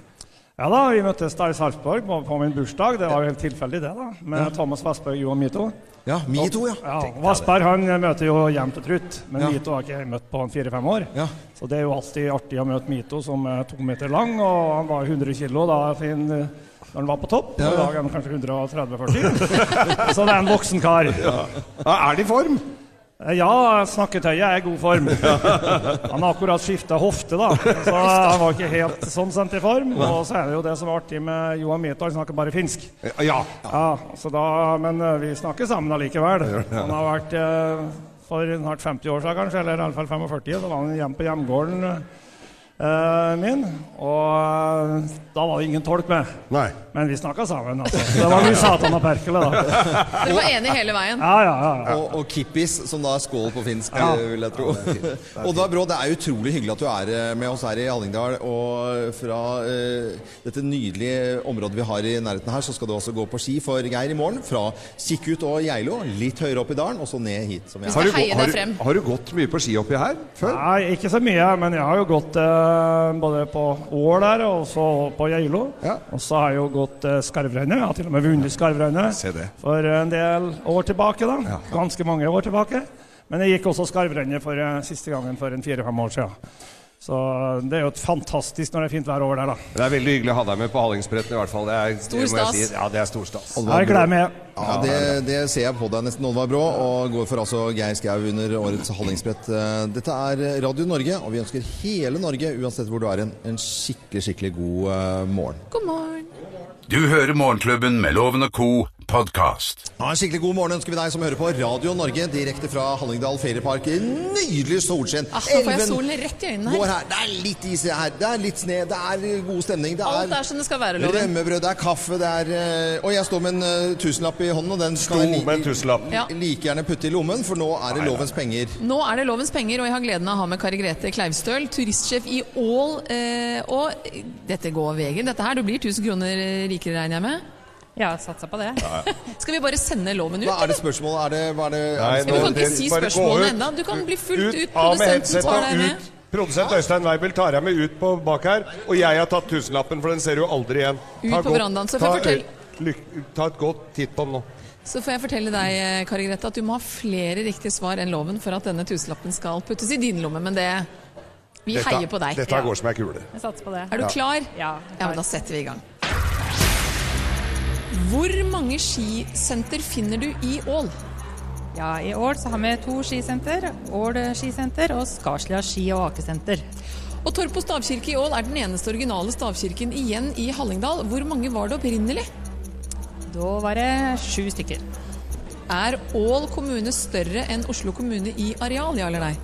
Ja da, vi møttes da i Sarpsborg på, på min bursdag. Det var jo helt tilfeldig, det. da. Med Thomas Vassberg, Johan Mito. Ja, Mito, ja. Vassberg han eh, møter jo jevnt og trutt, men Ja. Mito har ikke jeg møtt på han fire-fem år. Så det er jo alltid artig å møte Mito som er to meter lang, og han var 100 kilo da sin, når han var på topp. Ja, og I ja. dag er han kanskje 130-40. Så det er en voksen kar. Ja. Er det i form? Eh, Ja, snakketøyet er i god form. Han har akkurat skifta hofte, da. Så han var ikke helt sånn sendt i form. Nei. Og så er det jo det som er artig med Johan Mito, han snakker bare finsk. Ja. Ja, så da, Men eh, vi snakker sammen allikevel. Ja. Han har vært eh, for snart 50 år siden, kanskje, eller iallfall 45, så var han hjemme på hjemgården eh, min. Og eh, da var det ingen tolk med. Men vi snakka sammen, altså. Så det var mye Satan og Perkele, da. Dere var enige hele veien. Og, og kippis, som da er skål på finsk, Ja. eh, vil jeg tro. og da, Brå, det er utrolig hyggelig at du er eh, med oss her i Hallingdal. Og fra eh, dette nydelige området vi har i nærheten her, så skal du også gå på ski for Geir i morgen. Fra Kikkut og Geilo, litt høyere opp i dalen, og så ned hit. Som vi er. Har du, gå- har, du, har du gått mye på ski oppi her før? Nei, ikke så mye, men jeg har jo gått eh, både på Ål der og så på Geilo. Og så har jeg jo gått eh, Skarvrennet. Jeg har til og med vunnet Skarvrennet Se det. for en del år tilbake. da, Ganske mange år tilbake. Men jeg gikk også Skarvrennet for eh, siste gangen for en fire-fem år siden. Så det er jo et fantastisk når det er fint vær over der, da. Det er veldig hyggelig å ha deg med på Hallingsbretten i hvert fall. Det er, Stor det må jeg stas. Si. Ja, det er stor stas. Jeg gleder meg. Ja, det, det ser jeg på deg nesten, Oddvar Brå, og går for altså Geir Skau under årets Hallingsbrett. Eh, Dette er Radio Norge, og vi ønsker hele Norge, uansett hvor du er, en, en skikkelig, skikkelig god eh, morgen. God morgen. Du hører Morgenklubben med Loven og Co. podkast. Ja, en skikkelig god morgen ønsker vi deg som hører på Radio Norge, direkte fra Hallingdal feriepark. I Nydelig solskinn. Ah, nå får jeg Elven solen rett i øynene går her. her. Det er litt is her, det er litt sne, det er god stemning. Det Alt er er som det skal være, Loven. rømmebrød, det er kaffe, det er eh, Og jeg står med en eh, tusenlapp i hånden, og den skal jeg med en tusenlapp. Ja. li- like gjerne putte i lommen, for nå er det lovens penger. Nå er det lovens penger, og jeg har gleden av å ha med Kari Grete Kleivstøl, turistsjef i Ål. Eh, og dette går veien, dette her. Du blir 1000 kroner rikere, regner jeg med? Ja, satsa på det. Skal vi bare sende loven ut? Hva er det spørsmålet? Er det, hva er det, Nei, er det nå- Du kan ikke det- si bare gå spørsmålene ut. ennå. Du kan bli fullt ut. Av med Produsenten tar headsetet deg med. ut. Produsent Øystein Weibel tar jeg med ut på bak her. Og jeg har tatt tusenlappen, for den ser du aldri igjen. Ut Ta på godt- verandaen, så får ta jeg fortelle- ø- lyk- Ta et godt titt på den nå. Så får jeg fortelle deg, eh, Kari Grete, at du må ha flere riktige svar enn loven for at denne tusenlappen skal puttes i din lomme, men det Vi Dette- heier på deg. Dette Ja. går som ei kule. Jeg satser på det. Er du Ja. klar? Ja, ja, men da setter vi i gang. Hvor mange skisenter finner du i Ål? Ja, I år så har vi to skisenter. Ål skisenter og Skarslia ski- og akesenter. Og Torpo stavkirke i Ål er den eneste originale stavkirken igjen i Hallingdal. Hvor mange var det opprinnelig? Da var det sju stykker. Er Ål kommune større enn Oslo kommune i areal, ja eller nei?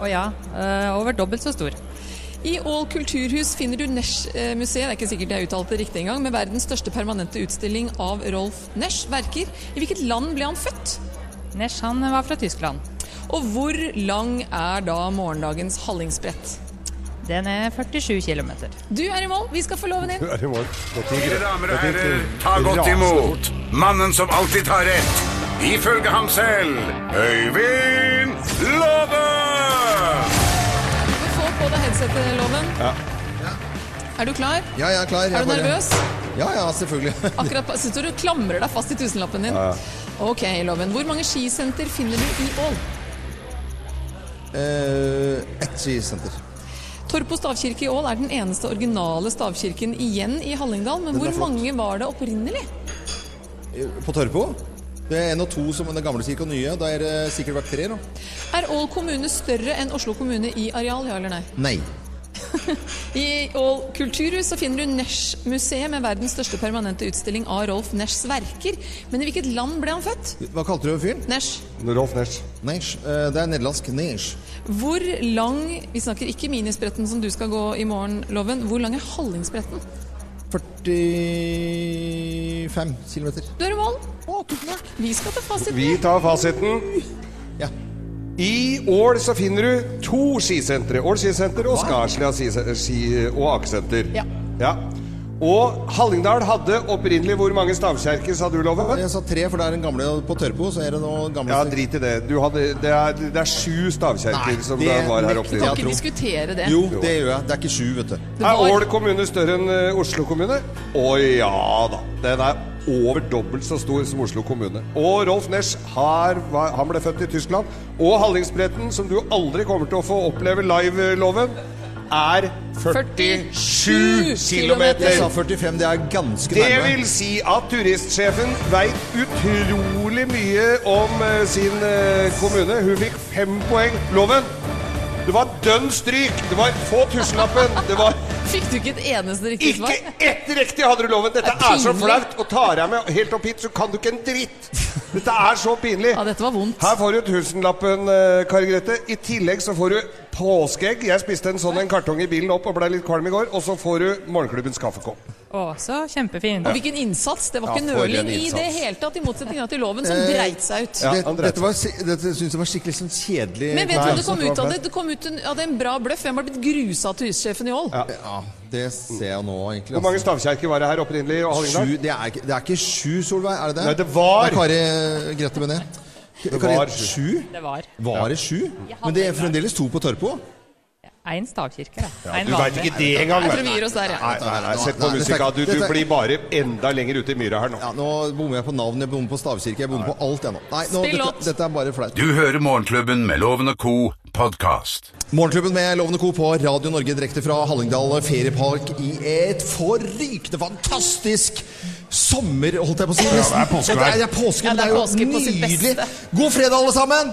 Å ja. eh, Over dobbelt så stor. I Ål kulturhus finner du Nesch-museet, det er ikke sikkert jeg uttalte det riktig engang, med verdens største permanente utstilling av Rolf Nesch verker. I hvilket land ble han født? Nesch han var fra Tyskland. Og hvor lang er da morgendagens Hallingsbrett? Den er 47 km. Du er i mål, vi skal få loven inn. Mine damer og herrer, ta godt imot mannen som alltid tar rett, ifølge ham selv, Øyvind Låve! Få på deg headsetet, Loven. Ja. Er du klar? Ja, jeg er klar. Jeg Er du bare- nervøs? Ja, ja, selvfølgelig. Akkurat på- Syns du du klamrer deg fast i tusenlappen din? Ja, ja. Ok, Loven. Hvor mange skisenter finner du i Ål? Eh, Ett skisenter. Torpo stavkirke i Ål er den eneste originale stavkirken igjen i Hallingdal, men Den er hvor flott. mange var det opprinnelig? På Torpo? Det er en og to som den gamle kirke og nye. Da er det sikkert vært tre, da. Er Ål kommune større enn Oslo kommune i areal, ja eller nei? Nei. I Ål kulturhus så finner du Nesch-museet med verdens største permanente utstilling av Rolf Neschs verker. Men i hvilket land ble han født? Hva kalte du fyren? Nesch. Rolf Nesch. eh, Det er nederlandsk Nesch. Hvor lang Vi snakker ikke minispretten som du skal gå i morgen, Loven. Hvor lang er Hallingsbretten? 45 kilometer. Du er i mål. Vi skal ta fasiten. Vi tar fasiten. I Ål så finner du to skisentre. Ål skisenter og Skarslia ski- ski- og akesenter. Ja. Og Hallingdal hadde opprinnelig hvor mange stavkjerker, sa du, Loven? Jeg sa tre, for det er den gamle på Tørpo. Så er det noe gamle Ja, drit i det. Du hadde, det, er, det er sju stavkjerker som det var her nekter oppe. Vi kan ikke diskutere det. Jo, Det gjør jeg. Det er ikke sju, vet du. Er Ål kommune større enn eh, Oslo kommune? Å ja da. Den er over dobbelt så stor som Oslo kommune. Og Rolf Nesch har, var- han ble født i Tyskland. Og Hallingsbretten, som du aldri kommer til å få oppleve live, eh, Loven, er 47 Jeg sa kilometer. 45. Det er ganske Det nærme. vil si at turistsjefen veit utrolig mye om eh, sin eh, kommune. Hun fikk fem poeng. Loven! Det var dønn stryk! Det var få tusenlappen! Det var Fikk du ikke et eneste riktig svar? Ikke ett riktig hadde du loven! Dette Det er er så pinlig. flaut! Og tar jeg med helt opp hit, så kan du ikke en dritt! Dette er så pinlig. Ja, dette var vondt. Her får du tusenlappen, eh, Kari Grete. I tillegg så får du påskeegg. Jeg spiste en sånn en kartong i bilen opp og ble litt kvalm i går. Og så får du morgenklubbens kaffekopp. Å, så kjempefint. Ja. Og hvilken innsats! Det var Ja, ikke for en nøling i det innsats. hele tatt, i motsetning da til loven som Eh, dreit seg ut. det, dette var si- dette syns jeg var skikkelig sånn kjedelig. Men vet du hva det kom ut av det? Det kom ut en, av det en bra bløff. Hvem har blitt grusa av turistsjefen i Ål? Ja, det ser jeg nå, egentlig. Hvor mange altså. stavkjerker var det her opprinnelig? i Hallingdal? Sju, det, er, ikke- det er ikke sju, Solveig? Er Altså, det det? Nei, det var- Det er Kari Grete Benet. Det Kari- var sju. sju. Det var Var det sju? Jeg hadde Men det er en der. fremdeles to på Tørpo? en stavkirke, da. Ja, En du veit vanlig. ikke det engang! Jeg vet tror vi gir oss der, ja. Nei, nei, nei, Nei, sett på dette er musikka. ikke- Du, du dette er- blir bare enda lenger ute i myra her nå. Ja, nå bommer jeg på navn, jeg bommer på stavkirke, jeg bommer på alt, jeg nå. Nei, nå Spill dette, låt. dette er bare flaut. Du hører Morgenklubben med Loven og Co. podkast. Morgenklubben med Lovende Co på Radio Norge direkte fra Hallingdal feriepark i et forrykende fantastisk sommer, holdt jeg på å si. Ja, det er påskevær. Dette er- Det er påske, Ja, men det er det er jo påske på sitt nydelig. beste. God fredag, alle sammen!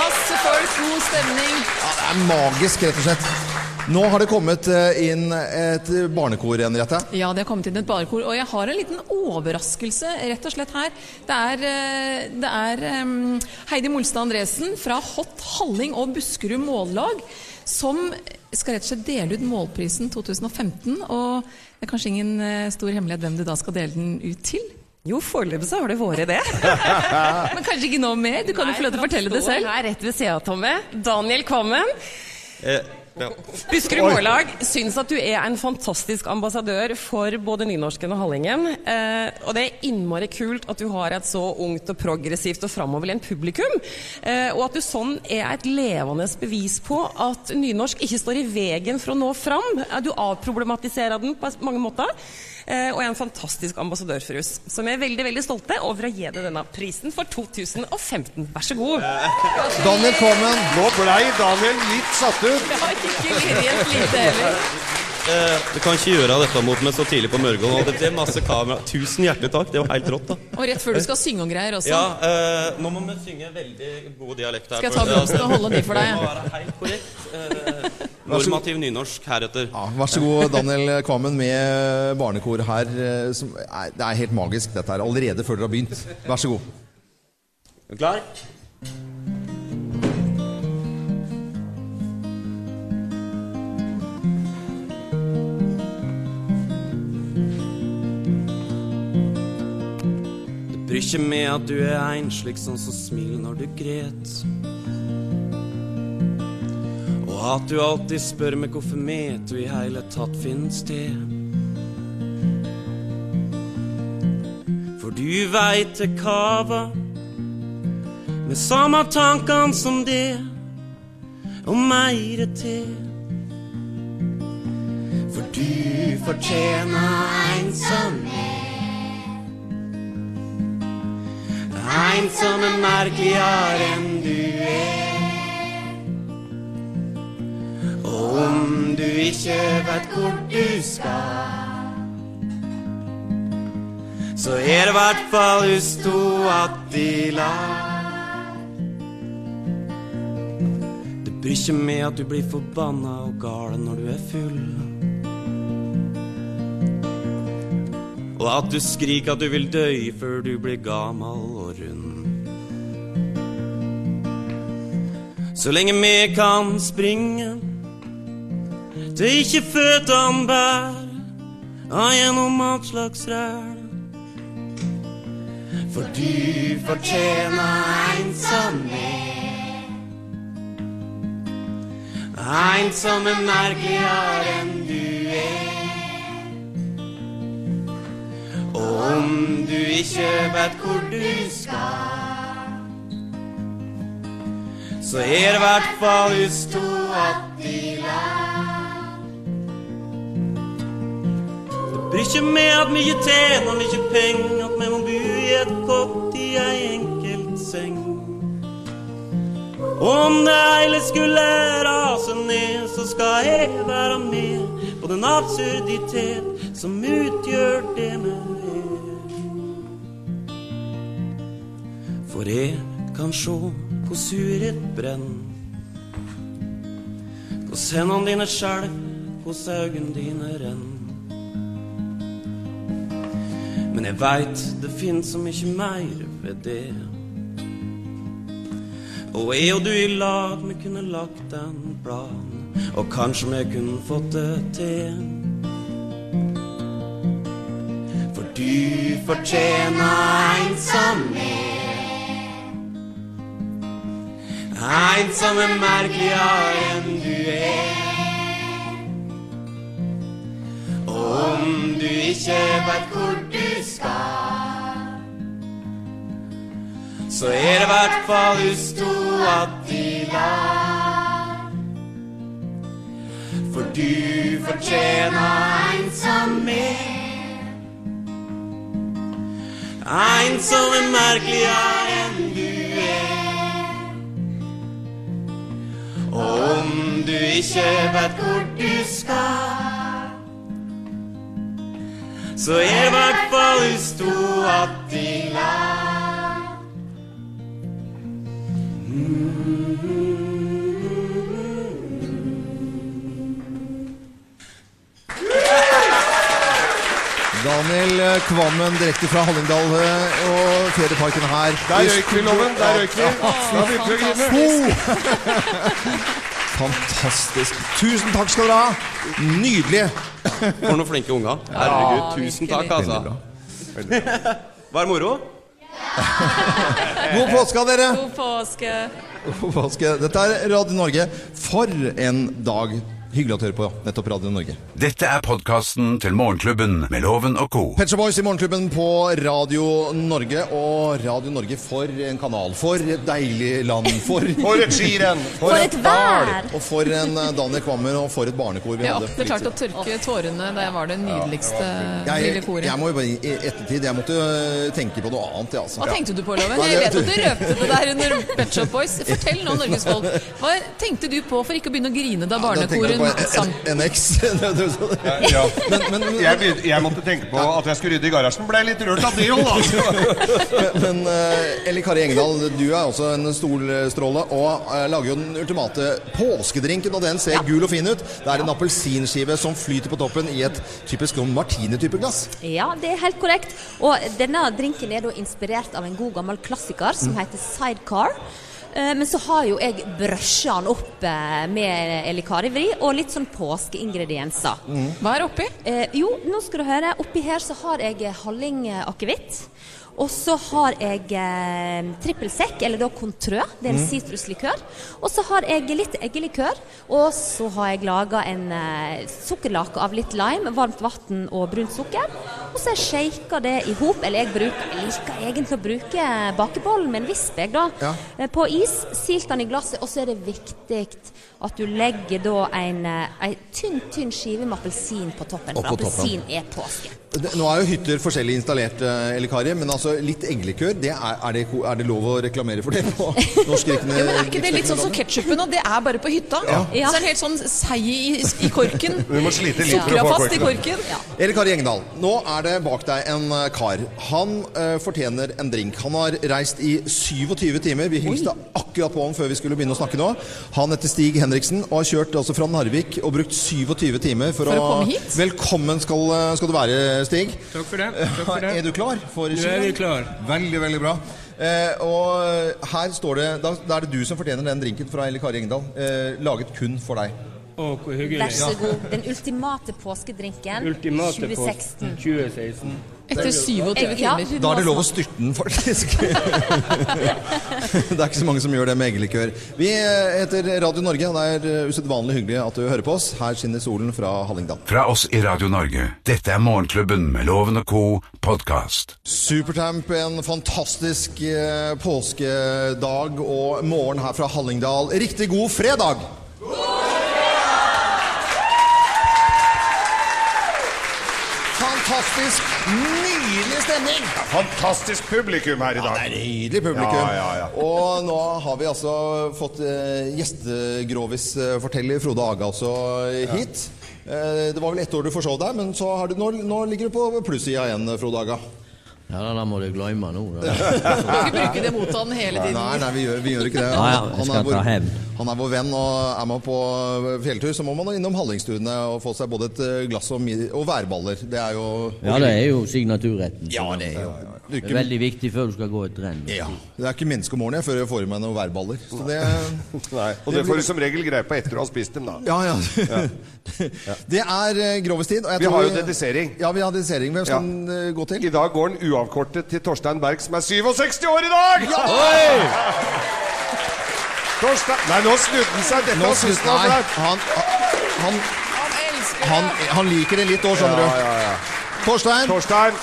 Masse folk, god stemning. Det er magisk, rett og slett. Nå har det kommet eh, inn et barnekor igjen, Rette. Ja, det har kommet inn et barekor. Og jeg har en liten overraskelse rett og slett her. Det er, eh, det er em, Heidi Molstad Andresen fra Hot Halling og Buskerud Mållag som skal rett og slett dele ut målprisen 2015. Og det er kanskje ingen eh, stor hemmelighet hvem du da skal dele den ut til? Jo, foreløpig så har det vært det. Men kanskje ikke nå mer? Du kan jo få lov til å fortelle det selv. Her rett ved siden av Tomme. Daniel Kvammen. Eh, Buskerud Oi. Mållag syns at du er en fantastisk ambassadør for både nynorsken og hallingen. Eh, og det er innmari kult at du har et så ungt og progressivt og framoverlent publikum. Eh, og at du sånn er et levende bevis på at nynorsk ikke står i veien for å nå fram. Eh, Du avproblematiserer den på mange måter. Eh, og er en fantastisk ambassadør for oss. Så vi er veldig veldig stolte over å gi deg denne prisen for 2015. Vær så god. Daniel Kvammen. Nå blei Daniel litt satt ut. Det har ikke helt lite heller. Eh, Du kan ikke gjøre dette mot meg så tidlig på morgenen. og Det det er masse kamera. Tusen hjertelig takk. Det var helt rått, da. Og rett før du skal synge og greier også. Ja, eh, nå må vi synge veldig god dialekt her. Skal jeg for ta det- blomsten og holde den i for deg? Det må være helt korrekt. Eh, Vær så god. normativ nynorsk heretter. Vær så god, Daniel Kvammen, med barnekor her. eh, Som er, det er helt magisk, dette her. Allerede før dere har begynt. Vær så god. Er du klar? Det bryr ikke med at du er ein slik sånn som smiler når du gret. Og at du alltid spør meg hvorfor me du i hele tatt finnes til. For du veit det kava med samme tankene som det, og meire til. For du fortjener en som En som er merkeligere enn du er. Og om du ikke vet hvor du skal, så er det i hvert fall oss to att i lag. Det bryr ikke med at du blir forbanna og gal når du er full. Og at du skriker at du vil dø før du blir gammel og rund. Så lenge vi kan springe til ikke føttene bær, og gjennom alt slags ræl. For du fortjener en som er En som er merkeligere enn du er. Om du ikke vet hvor du skal, så er det i hvert fall oss to att i lag. Bryr ikke med at mye tjener mye penger, at vi må bo i et kott i ei enkelt seng. Om det hele skulle rase ned, så skal jeg være med på den absurditet som utgjør det vi er. For jeg kan sjå hvor suret brenn, hos hendene dine skjelv, hos øynene dine renn. Men jeg veit det finnes så mye mer ved det. Og jeg og du i lag, vi kunne lagt en plan. Og kanskje vi kunne fått det til. For du fortjener ensomhet. Ensomme merkeligere enn du er. Og om du ikke vet hvor du skal, så er det i hvert fall oss to att i lag. For du fortjener ensomhet. Ensomme merkeligere enn du er. Og om du ikke vet hvor du skal, så er i hvert fall oss to att i lag. Daniel eh, Kvammen direkte fra Hallingdal eh, og ferieparken her. Der røyk vi, Loven. Der røyk vi. Da begynte vi å grine. Fantastisk. Tusen takk skal dere ha. Nydelig. For noen flinke unger. Herregud, tusen takk, altså. Var det moro? God påske, dere. God påske. God påske. Dette er Radio Norge. For en dag. Hyggelig at du hører på nettopp Radio Norge. Dette er podkasten til Morgenklubben med Loven og co. Pet Shop Boys i Morgenklubben på Radio Norge. Og Radio Norge for en kanal, for et deilig land, for For et skirenn. For et vær. dal, Og for en eh, Daniel Kvammer, og for et barnekor vi Jeg hadde. akter klart å tørke tårene da jeg var det nydeligste lille jeg, koret. jeg må jo bare i i ettertid Jeg måtte øh, tenke på noe annet, jeg, altså. Hva tenkte du på, Loven? Nei, Jeg det- vet at du røpte det der under Pet Shop Boys. Fortell nå, Norges folk. Hva tenkte du på for ikke å begynne å grine da Da tenkte jeg på barnekoren en- sang? en- En eks. Ja. jeg, begynte- jeg måtte tenke på at jeg skulle rydde i garasjen. Ble litt rørt av det òg, da. Men eh, Ellie Kari Engdahl, du er også en stolstråle og eh, lager jo den ultimate påskedrinken, og den ser gul og fin ut. Det er en appelsinskive som flyter på toppen i et typisk sånn martini-type glass. Ja, det er helt korrekt. Og denne drinken er da inspirert av en god gammel klassiker som Mm. heter Sidecar. Eh, Men så har jo jeg brøsja den opp eh, med elikarivri og litt sånn påskeingredienser. Eh, Mm. Hva er oppi? jo, nå skal du høre. Oppi her så har jeg eh, halling eh, akevitt. Og så har jeg eh, trippelsekk, eller da kontrø. Det er en Mm. sitruslikør. Og så har jeg litt eggelikør. Og så har jeg laga en eh, sukkerlake av litt lime, varmt vann og brunt sukker. Og så har jeg shaka det i hop. Eller jeg, bruker, jeg liker egentlig å bruke bakebollen med en visp, jeg, da. Ja. Eh, På is, silt den i glasset, og så er det viktig at du legger da en, eh, ei tynn, tynn skive med appelsin på toppen. Og For på toppen. appelsin er påske. Det- Nå er jo hytter forskjellig installert, eh, Ellie Kari, men altså litt eggelikør, det er, er, det, ko- er det lov å reklamere for det på norsk rikende? Ja, men Er ikke det litt sånn som ketsjupen? Og det er bare på hytta. Ja. Så er det helt sånn seig i, i korken. Du må slite litt for å Sukra få fast i korken. korken. Erik Kari Engdahl, nå er det bak deg en eh, kar. Han eh, fortjener en drink. Han har reist i 27 timer. Vi hilste akkurat på ham før vi skulle begynne å snakke nå. Han heter Stig Henriksen og har kjørt altså fra Narvik og brukt 27 timer for, For å komme hit? Velkommen skal, eh, skal du være, Stig. Takk for det. Takk for det. Er du klar for Nå skirenn? er vi klar. Veldig, veldig bra. Eh, og her står det da, da er det du som fortjener den drinken fra Eli Kari Engdahl. Eh, laget kun for deg. Å, hvor hyggelig. Vær så god. Den ultimate påskedrinken Ultimate på 2016. 2016. Etter 27 timer. Ja, Da er det lov å styrte den, faktisk. det er ikke så mange som gjør det med eggelikør. Vi eh, heter Radio Norge. Det er eh, usedvanlig hyggelig at du hører på oss. Her skinner solen fra Hallingdal. Fra oss i Radio Norge, dette er Morgenklubben med Loven og co. podkast. Supertramp, en fantastisk eh, påskedag og morgen her fra Hallingdal. Riktig god fredag! Fantastisk, nydelig stemning! Fantastisk publikum her i dag. Ja, det er Nydelig publikum. Ja, ja, ja. Og nå har vi altså fått eh, gjestegrovis-forteller Frode Aga også hit. Eh, det var vel ett år du forsov deg, men så har du, nå, nå ligger du på plussida igjen, Frode Aga. Ja, det der må du glemme nå. da. Må ikke bruke det mot han hele tiden. Nei, nei, vi gjør, vi gjør ikke det. Nei, ja, vi skal er vår, ta hevn. han er vår venn, og er man på fjelltur, så må man innom Hallingstuene og få seg både et eh, glass og, mi- og værballer. Det er jo Ja, det er jo signaturretten. Ja, det er jo Det er veldig viktig før du skal gå et renn. Ja. Det er ikke menneske om morgenen jeg, før jeg får i meg noen værballer. Så det, Nei, og det får du som regel greie på etter du har spist dem, da. ja, ja. det er eh, grovestid. og jeg Vi tror- har jo dedisering. Ja, vi har dedisering. Hvem skal den eh, gå til? I dag går den uavkortet til Torstein Berg, som er 67 år i dag! Ja! Torstein Nei, nå snudde han seg. Dette Nå var synes siste Nei, han han, han, han, han liker det litt òg, skjønner Ja, du. ja, ja. Torstein. Torstein.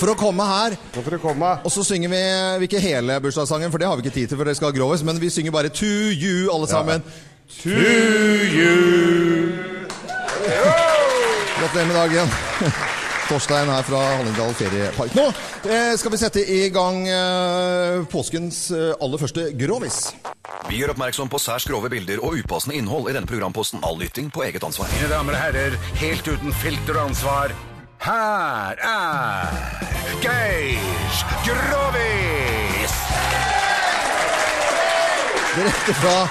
For å komme her. Og så synger vi vi ikke hele bursdagssangen, for det har vi ikke tid til, for det skal groves, men vi synger bare 'To you', alle sammen. To you. Gratulerer med dagen. Torstein her fra Hallingdal feriepark. Nå eh, skal vi sette i gang eh, påskens eh, aller første grovis. Vi gjør oppmerksom på særs grove bilder og upassende innhold i denne programposten. All lytting på eget ansvar. Mine damer og herrer, helt uten filter og ansvar, her er Geir Grovis! Direkte fra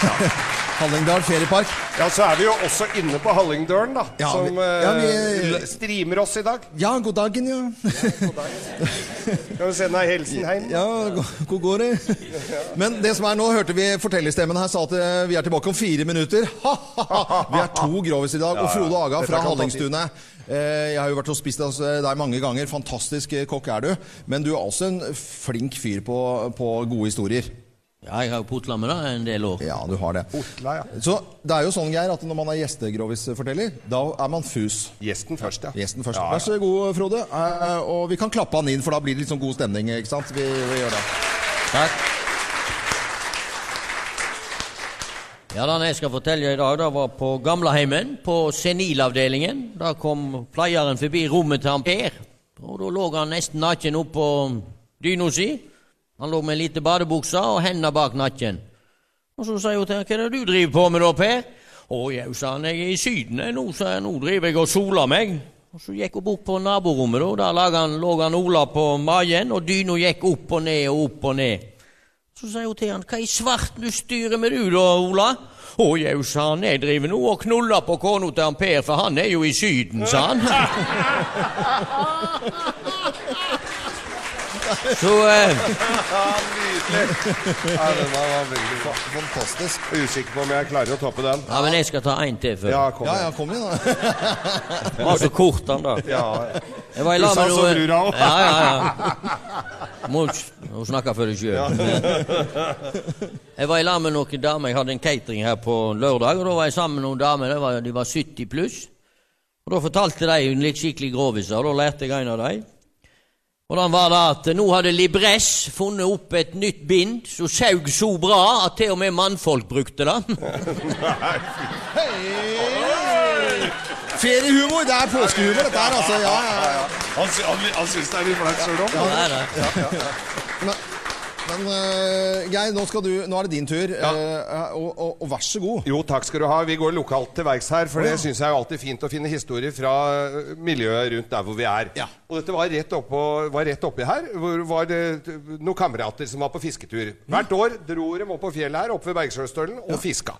Hallingdal feriepark. Ja, så er vi jo også inne på Hallingdølen, da. Ja, som vi- ja, eh, vi- streamer oss i dag. Ja, god dagen, ja. Kan vi sende ei hilsen hjem? Ja, hvor går det? Men det som er nå, hørte vi fortellerstemmen her sa at eh, vi er tilbake om fire minutter. Ha, ha, ha. Vi er to grovis i dag. Ja, Og Frode ja. Aga Dette fra kan ta Hallingstuene. eh, Jeg har jo vært og spist hos eh, deg mange ganger. Fantastisk eh, kokk er du. Men du er også en flink fyr på, på gode historier. Ja, jeg har jo putla med det en del år. Ja, du har det. Otla, ja. Så det er jo sånn, Geir, at når man er gjestegrovis-forteller, da er man fus. Gjesten først, ja. Gjesten først. Ja, ja. Vær så god, Frode. Eh, Og vi kan klappe han inn, for da blir det litt sånn god stemning, ikke sant? Vi, vi gjør det. Takk. Ja, Den jeg skal fortelle i dag, det var på gamleheimen, på senilavdelingen. Da kom pleieren forbi rommet til han Per, og da lå han nesten naken oppå dyna si. Han lå med en lite badebukse og hendene bak nakken. Og så sa jeg jo til han, hva er det du driver på med da, Per? Å jau, sa han, jeg er i Syden jeg nå, sa jeg, nå driver jeg og soler meg. Og så gikk hun bort på naborommet, da. Der laget han, lå han Ola på magen, og dyna gikk opp og ned og opp og ned. Så sier hun til han, hva i svarten du styrer med du da, Ola? Å jau, sa han, jeg driver nå og knuller på kona til han Per, for han er jo i Syden, sa han. Så eh, Nydelig. Ja, den var, var veldig bra. Fantastisk. Usikker på om jeg klarer å toppe den. Ja, men jeg skal ta en til før. Ja, kom Ja, igjen. ja, kom igjen, da. Den var så kort, den da. Ja, ja. Jeg var i lag Du sa med så noe- lura også. Ja, ja, ja. Må Hun snakker for deg sjøl. Jeg var i lag med noen damer. Jeg hadde en catering her på lørdag. og Da var jeg sammen med noen damer. De var, de var 70 pluss. Og Da fortalte de litt skikkelig groviser, og da lærte jeg en av dem. Og den var da at nå hadde Libress funnet opp et nytt bind som saug så bra at til og med mannfolk brukte det. Feriehumor! Det er påskehumor, dette her, altså. Ja, ja, ja. Han, sy- han, han syns det er litt flaut sjøl òg. Ja, det er det. Men, men eh, Geir, nå, skal du, nå er det din tur. Eh, og, og, og vær så god. Jo, takk skal du ha. Vi går lokalt til verks her, for det syns jeg er alltid fint å finne historier fra eh, miljøet rundt der hvor vi er. Og dette var rett, oppå, var rett oppi her, hvor var det t- noen kamerater som var på fisketur. Hvert år dro de opp på fjellet her, oppe ved Bergsjøstølen, og fiska.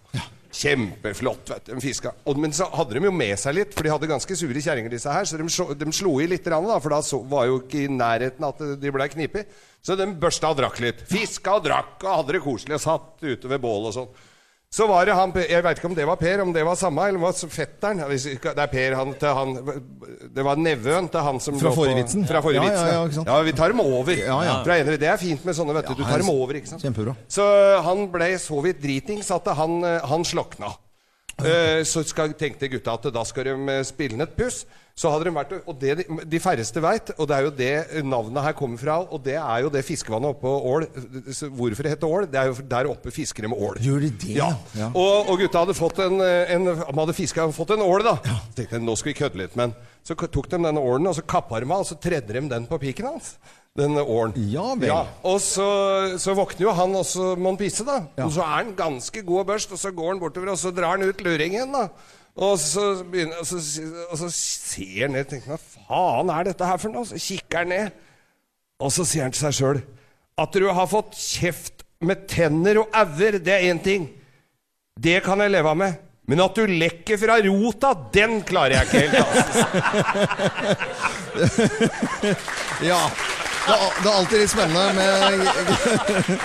Kjempeflott, vet du. De fiska. Og, men så hadde de jo med seg litt, for de hadde ganske sure kjerringer, disse her, så de, slo- de slo i litt, rann, da, for da så, var jo ikke i nærheten at de blei knipet. Så de børsta og drakk litt. Fiska og drakk og hadde det koselig og satt ute ved bål og sånn. Så var det han, jeg vet ikke om det var Per, om det var samme, eller var det fetteren? Hvis ikke- Det er Per, han til han Det var nevøen til han som Fra lå på- forrige vitsen. Fra forrige Ja, ja, vitsen, ja, ikke sant? ja, vi tar dem over. Ja, ja. Fra ene, det er fint med sånne, vet du. Du tar dem over, ikke sant? Kjempebra. Så eh, han ble så vidt dritings at han, eh, han slokna. Eh, Så skal, tenkte gutta at da skal de eh, spille inn et puss. Så hadde de vært, og det de, de færreste veit, og det er jo det navnet her kommer fra, og det er jo det fiskevannet oppe på Ål Så Hvorfor det heter Ål? Det er jo der oppe fisker de med ål. Gjør de det? Ja. Ja. Og, og gutta hadde fått en, eh, en de hadde fiska og fått en ål, da. Så tenkte jeg, nå skal vi kødde litt. Men så k- tok de denne ålen, og så kappa de av, og så tredde de den på piken hans. Den ålen. Ja vel. Og så, så våkner jo han, og så må han pisse, da. Ja. Og så er han ganske god og børst, og så går han bortover, og så drar han ut luringen, da. Og så, begynner, og, så, og så ser han ned og tenker hva faen er dette her for noe? Så kikker han ned. Og så sier han til seg sjøl at du har fått kjeft med tenner og auer, det er én ting. Det kan jeg leve av med. Men at du lekker fra rota, den klarer jeg ikke helt. Altså. Ja. Det er, al- det er alltid litt spennende med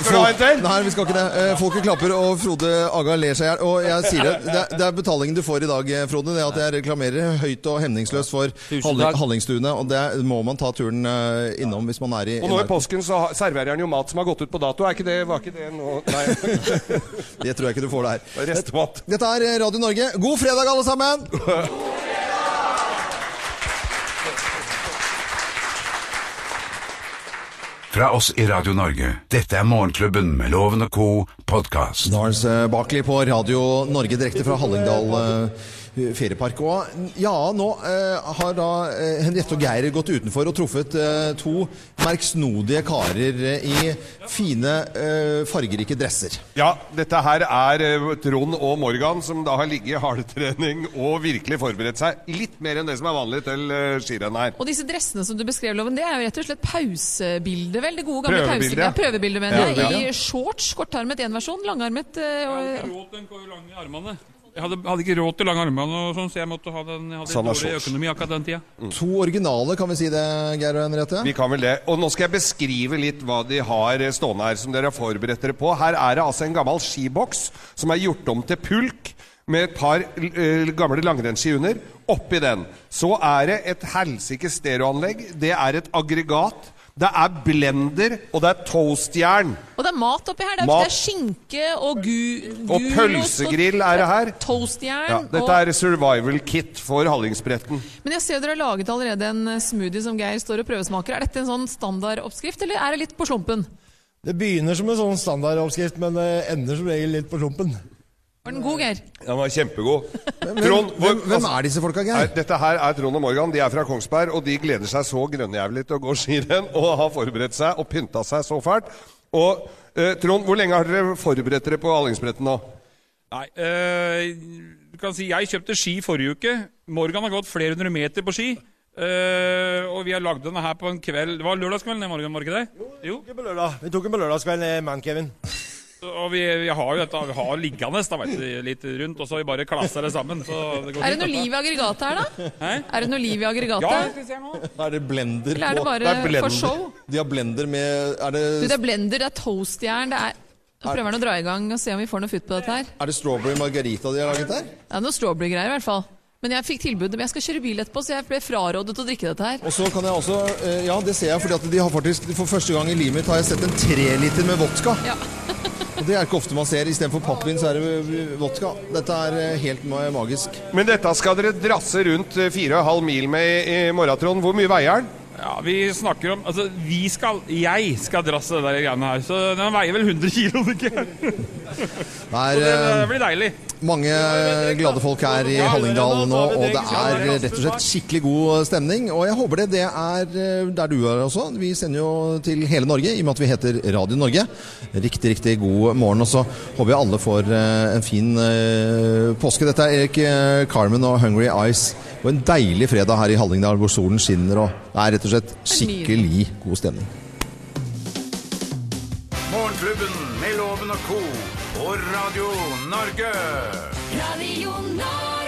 Skal du ha en til? Nei, vi skal ikke det. Eh, Folket klapper, og Frode Aga ler seg i hjel. Og jeg sier det, det er, det er betalingen du får i dag, eh, Frode. Det er at jeg reklamerer høyt og hemningsløst for Halling- takk. Hallingstuene. Og det må man ta turen eh, innom hvis man er i, i Og nå i påsken så har- serverer han jo mat som har gått ut på dato. Er ikke det, var ikke det nå Nei. Det tror jeg ikke du får der. Restemat. Dette er Radio Norge. God fredag, alle sammen! Fra oss i Radio Norge, dette er Morgenklubben med Loven og co. podkast. Lars eh, Barkley på Radio Norge direkte fra Hallingdal eh, feriepark. Og ja, nå eh, har da eh, Henriette og Geir gått utenfor og truffet eh, to merksnodige karer eh, i fine, eh, fargerike dresser. Ja, dette her er eh, Trond og Morgan som da har ligget i hardtrening og virkelig forberedt seg litt mer enn det som er vanlig til eh, skirenn her. Og disse dressene som du beskrev, Loven, det er jo rett og slett pausebildet, vel? Det gode gamle Prøvebildet, pausebildet. ja. Ja, prøvebildet, mener Prøvebildet, jeg. I ja. shorts, kortarmet én versjon, langarmet eh, og Armene. Jeg hadde, hadde ikke råd til lange armene, og sånn, så jeg måtte ha den, jeg hadde Sånn Sanna dårlig Scholz. økonomi akkurat den tida. To originale, kan vi si det, Geir og Henriette? Vi kan vel det. Og nå skal jeg beskrive litt hva de har eh, stående her som dere har forberedt dere på. Her er det altså en gammel skiboks som er gjort om til pulk med et par eh, gamle langrennsski under. Oppi den. Så er det et helsikes stereoanlegg. Det er et aggregat. Det er blender, og det er toastjern. Og det er mat oppi her. Det er, Mat. det er skinke og gu, gulost Og pølsegrill er det her. Toastjern. Ja, og- dette er survival kit for Hallingsbretten. Men jeg ser dere har laget allerede en eh, smoothie som Geir står og prøvesmaker. Er dette en sånn standardoppskrift, eller er det litt på slumpen? Det begynner som en sånn standardoppskrift, men det ender som regel litt på klumpen. Var den god, Geir? Den var kjempegod. Trond, hvor- altså, Hvem er disse folka, Nei, Geir? Dette her er Trond og Morgan. De er fra Kongsberg, og de gleder seg så grønnjævlig til å gå skirenn og har forberedt seg og pynta seg så fælt. Og eh, Trond, hvor lenge har dere forberedt dere på Hallingsbretten nå? Nei, eh, du kan si jeg kjøpte ski forrige uke. Morgan har gått flere hundre meter på ski. eh, og vi har lagd denne her på en kveld Det var lørdagskvelden, det, Morgan, var det ikke det? Jo. Vi tok den på lørdagskvelden i Mancaven. Og vi, vi har jo dette vi har liggende da, vet du, litt rundt, og så har vi bare klassa det sammen. Så det går Er det noe fint, dette. liv i aggregatet her, da? Er det noe liv i aggregatet? Ja, jeg Er det blender Eller er det på- bare for show? De har blender med Er det, Du, det er blender, det er toastjern, det er Nå prøver han å dra i gang og se om vi får noe futt på dette her. er det strawberry margarita de har laget der? Det er noe strawberry-greier i hvert fall. Men jeg fikk tilbud men jeg skal kjøre bil etterpå, så jeg ble frarådet å drikke dette her. Og så kan jeg også, eh, ja det ser jeg, fordi at de har faktisk, for første gang i livet mitt har jeg sett en treliter med vodka. Og det er ikke ofte man ser, i stedet for pappvin så er det eh, vodka. Dette er eh, helt ma- magisk. Men dette skal dere drasse rundt eh, 4,5 mil med i, i morgen, Trond. Hvor mye veier den? Ja, vi snakker om Altså, vi skal Jeg skal drasse det der greiene her. Så den veier vel 100 kilo, ikke? Det Så det, det er eh, blir deilig. mange glade folk her i Hallingdal nå, og det er eh, rett og slett skikkelig god eh, stemning. Og jeg håper det, det er eh, der du er også. Vi sender jo til hele Norge, i og med at vi heter Radio Norge. Riktig, riktig god morgen, og så håper jeg alle får eh, en fin eh, påske. Dette er Erik eh, Carmen og Hungry Eyes, og en deilig fredag her i Hallingdal hvor solen skinner, og det er rett og slett skikkelig god stemning. Morgenklubben med Loven og co. på Radio Norge. Radio Norge.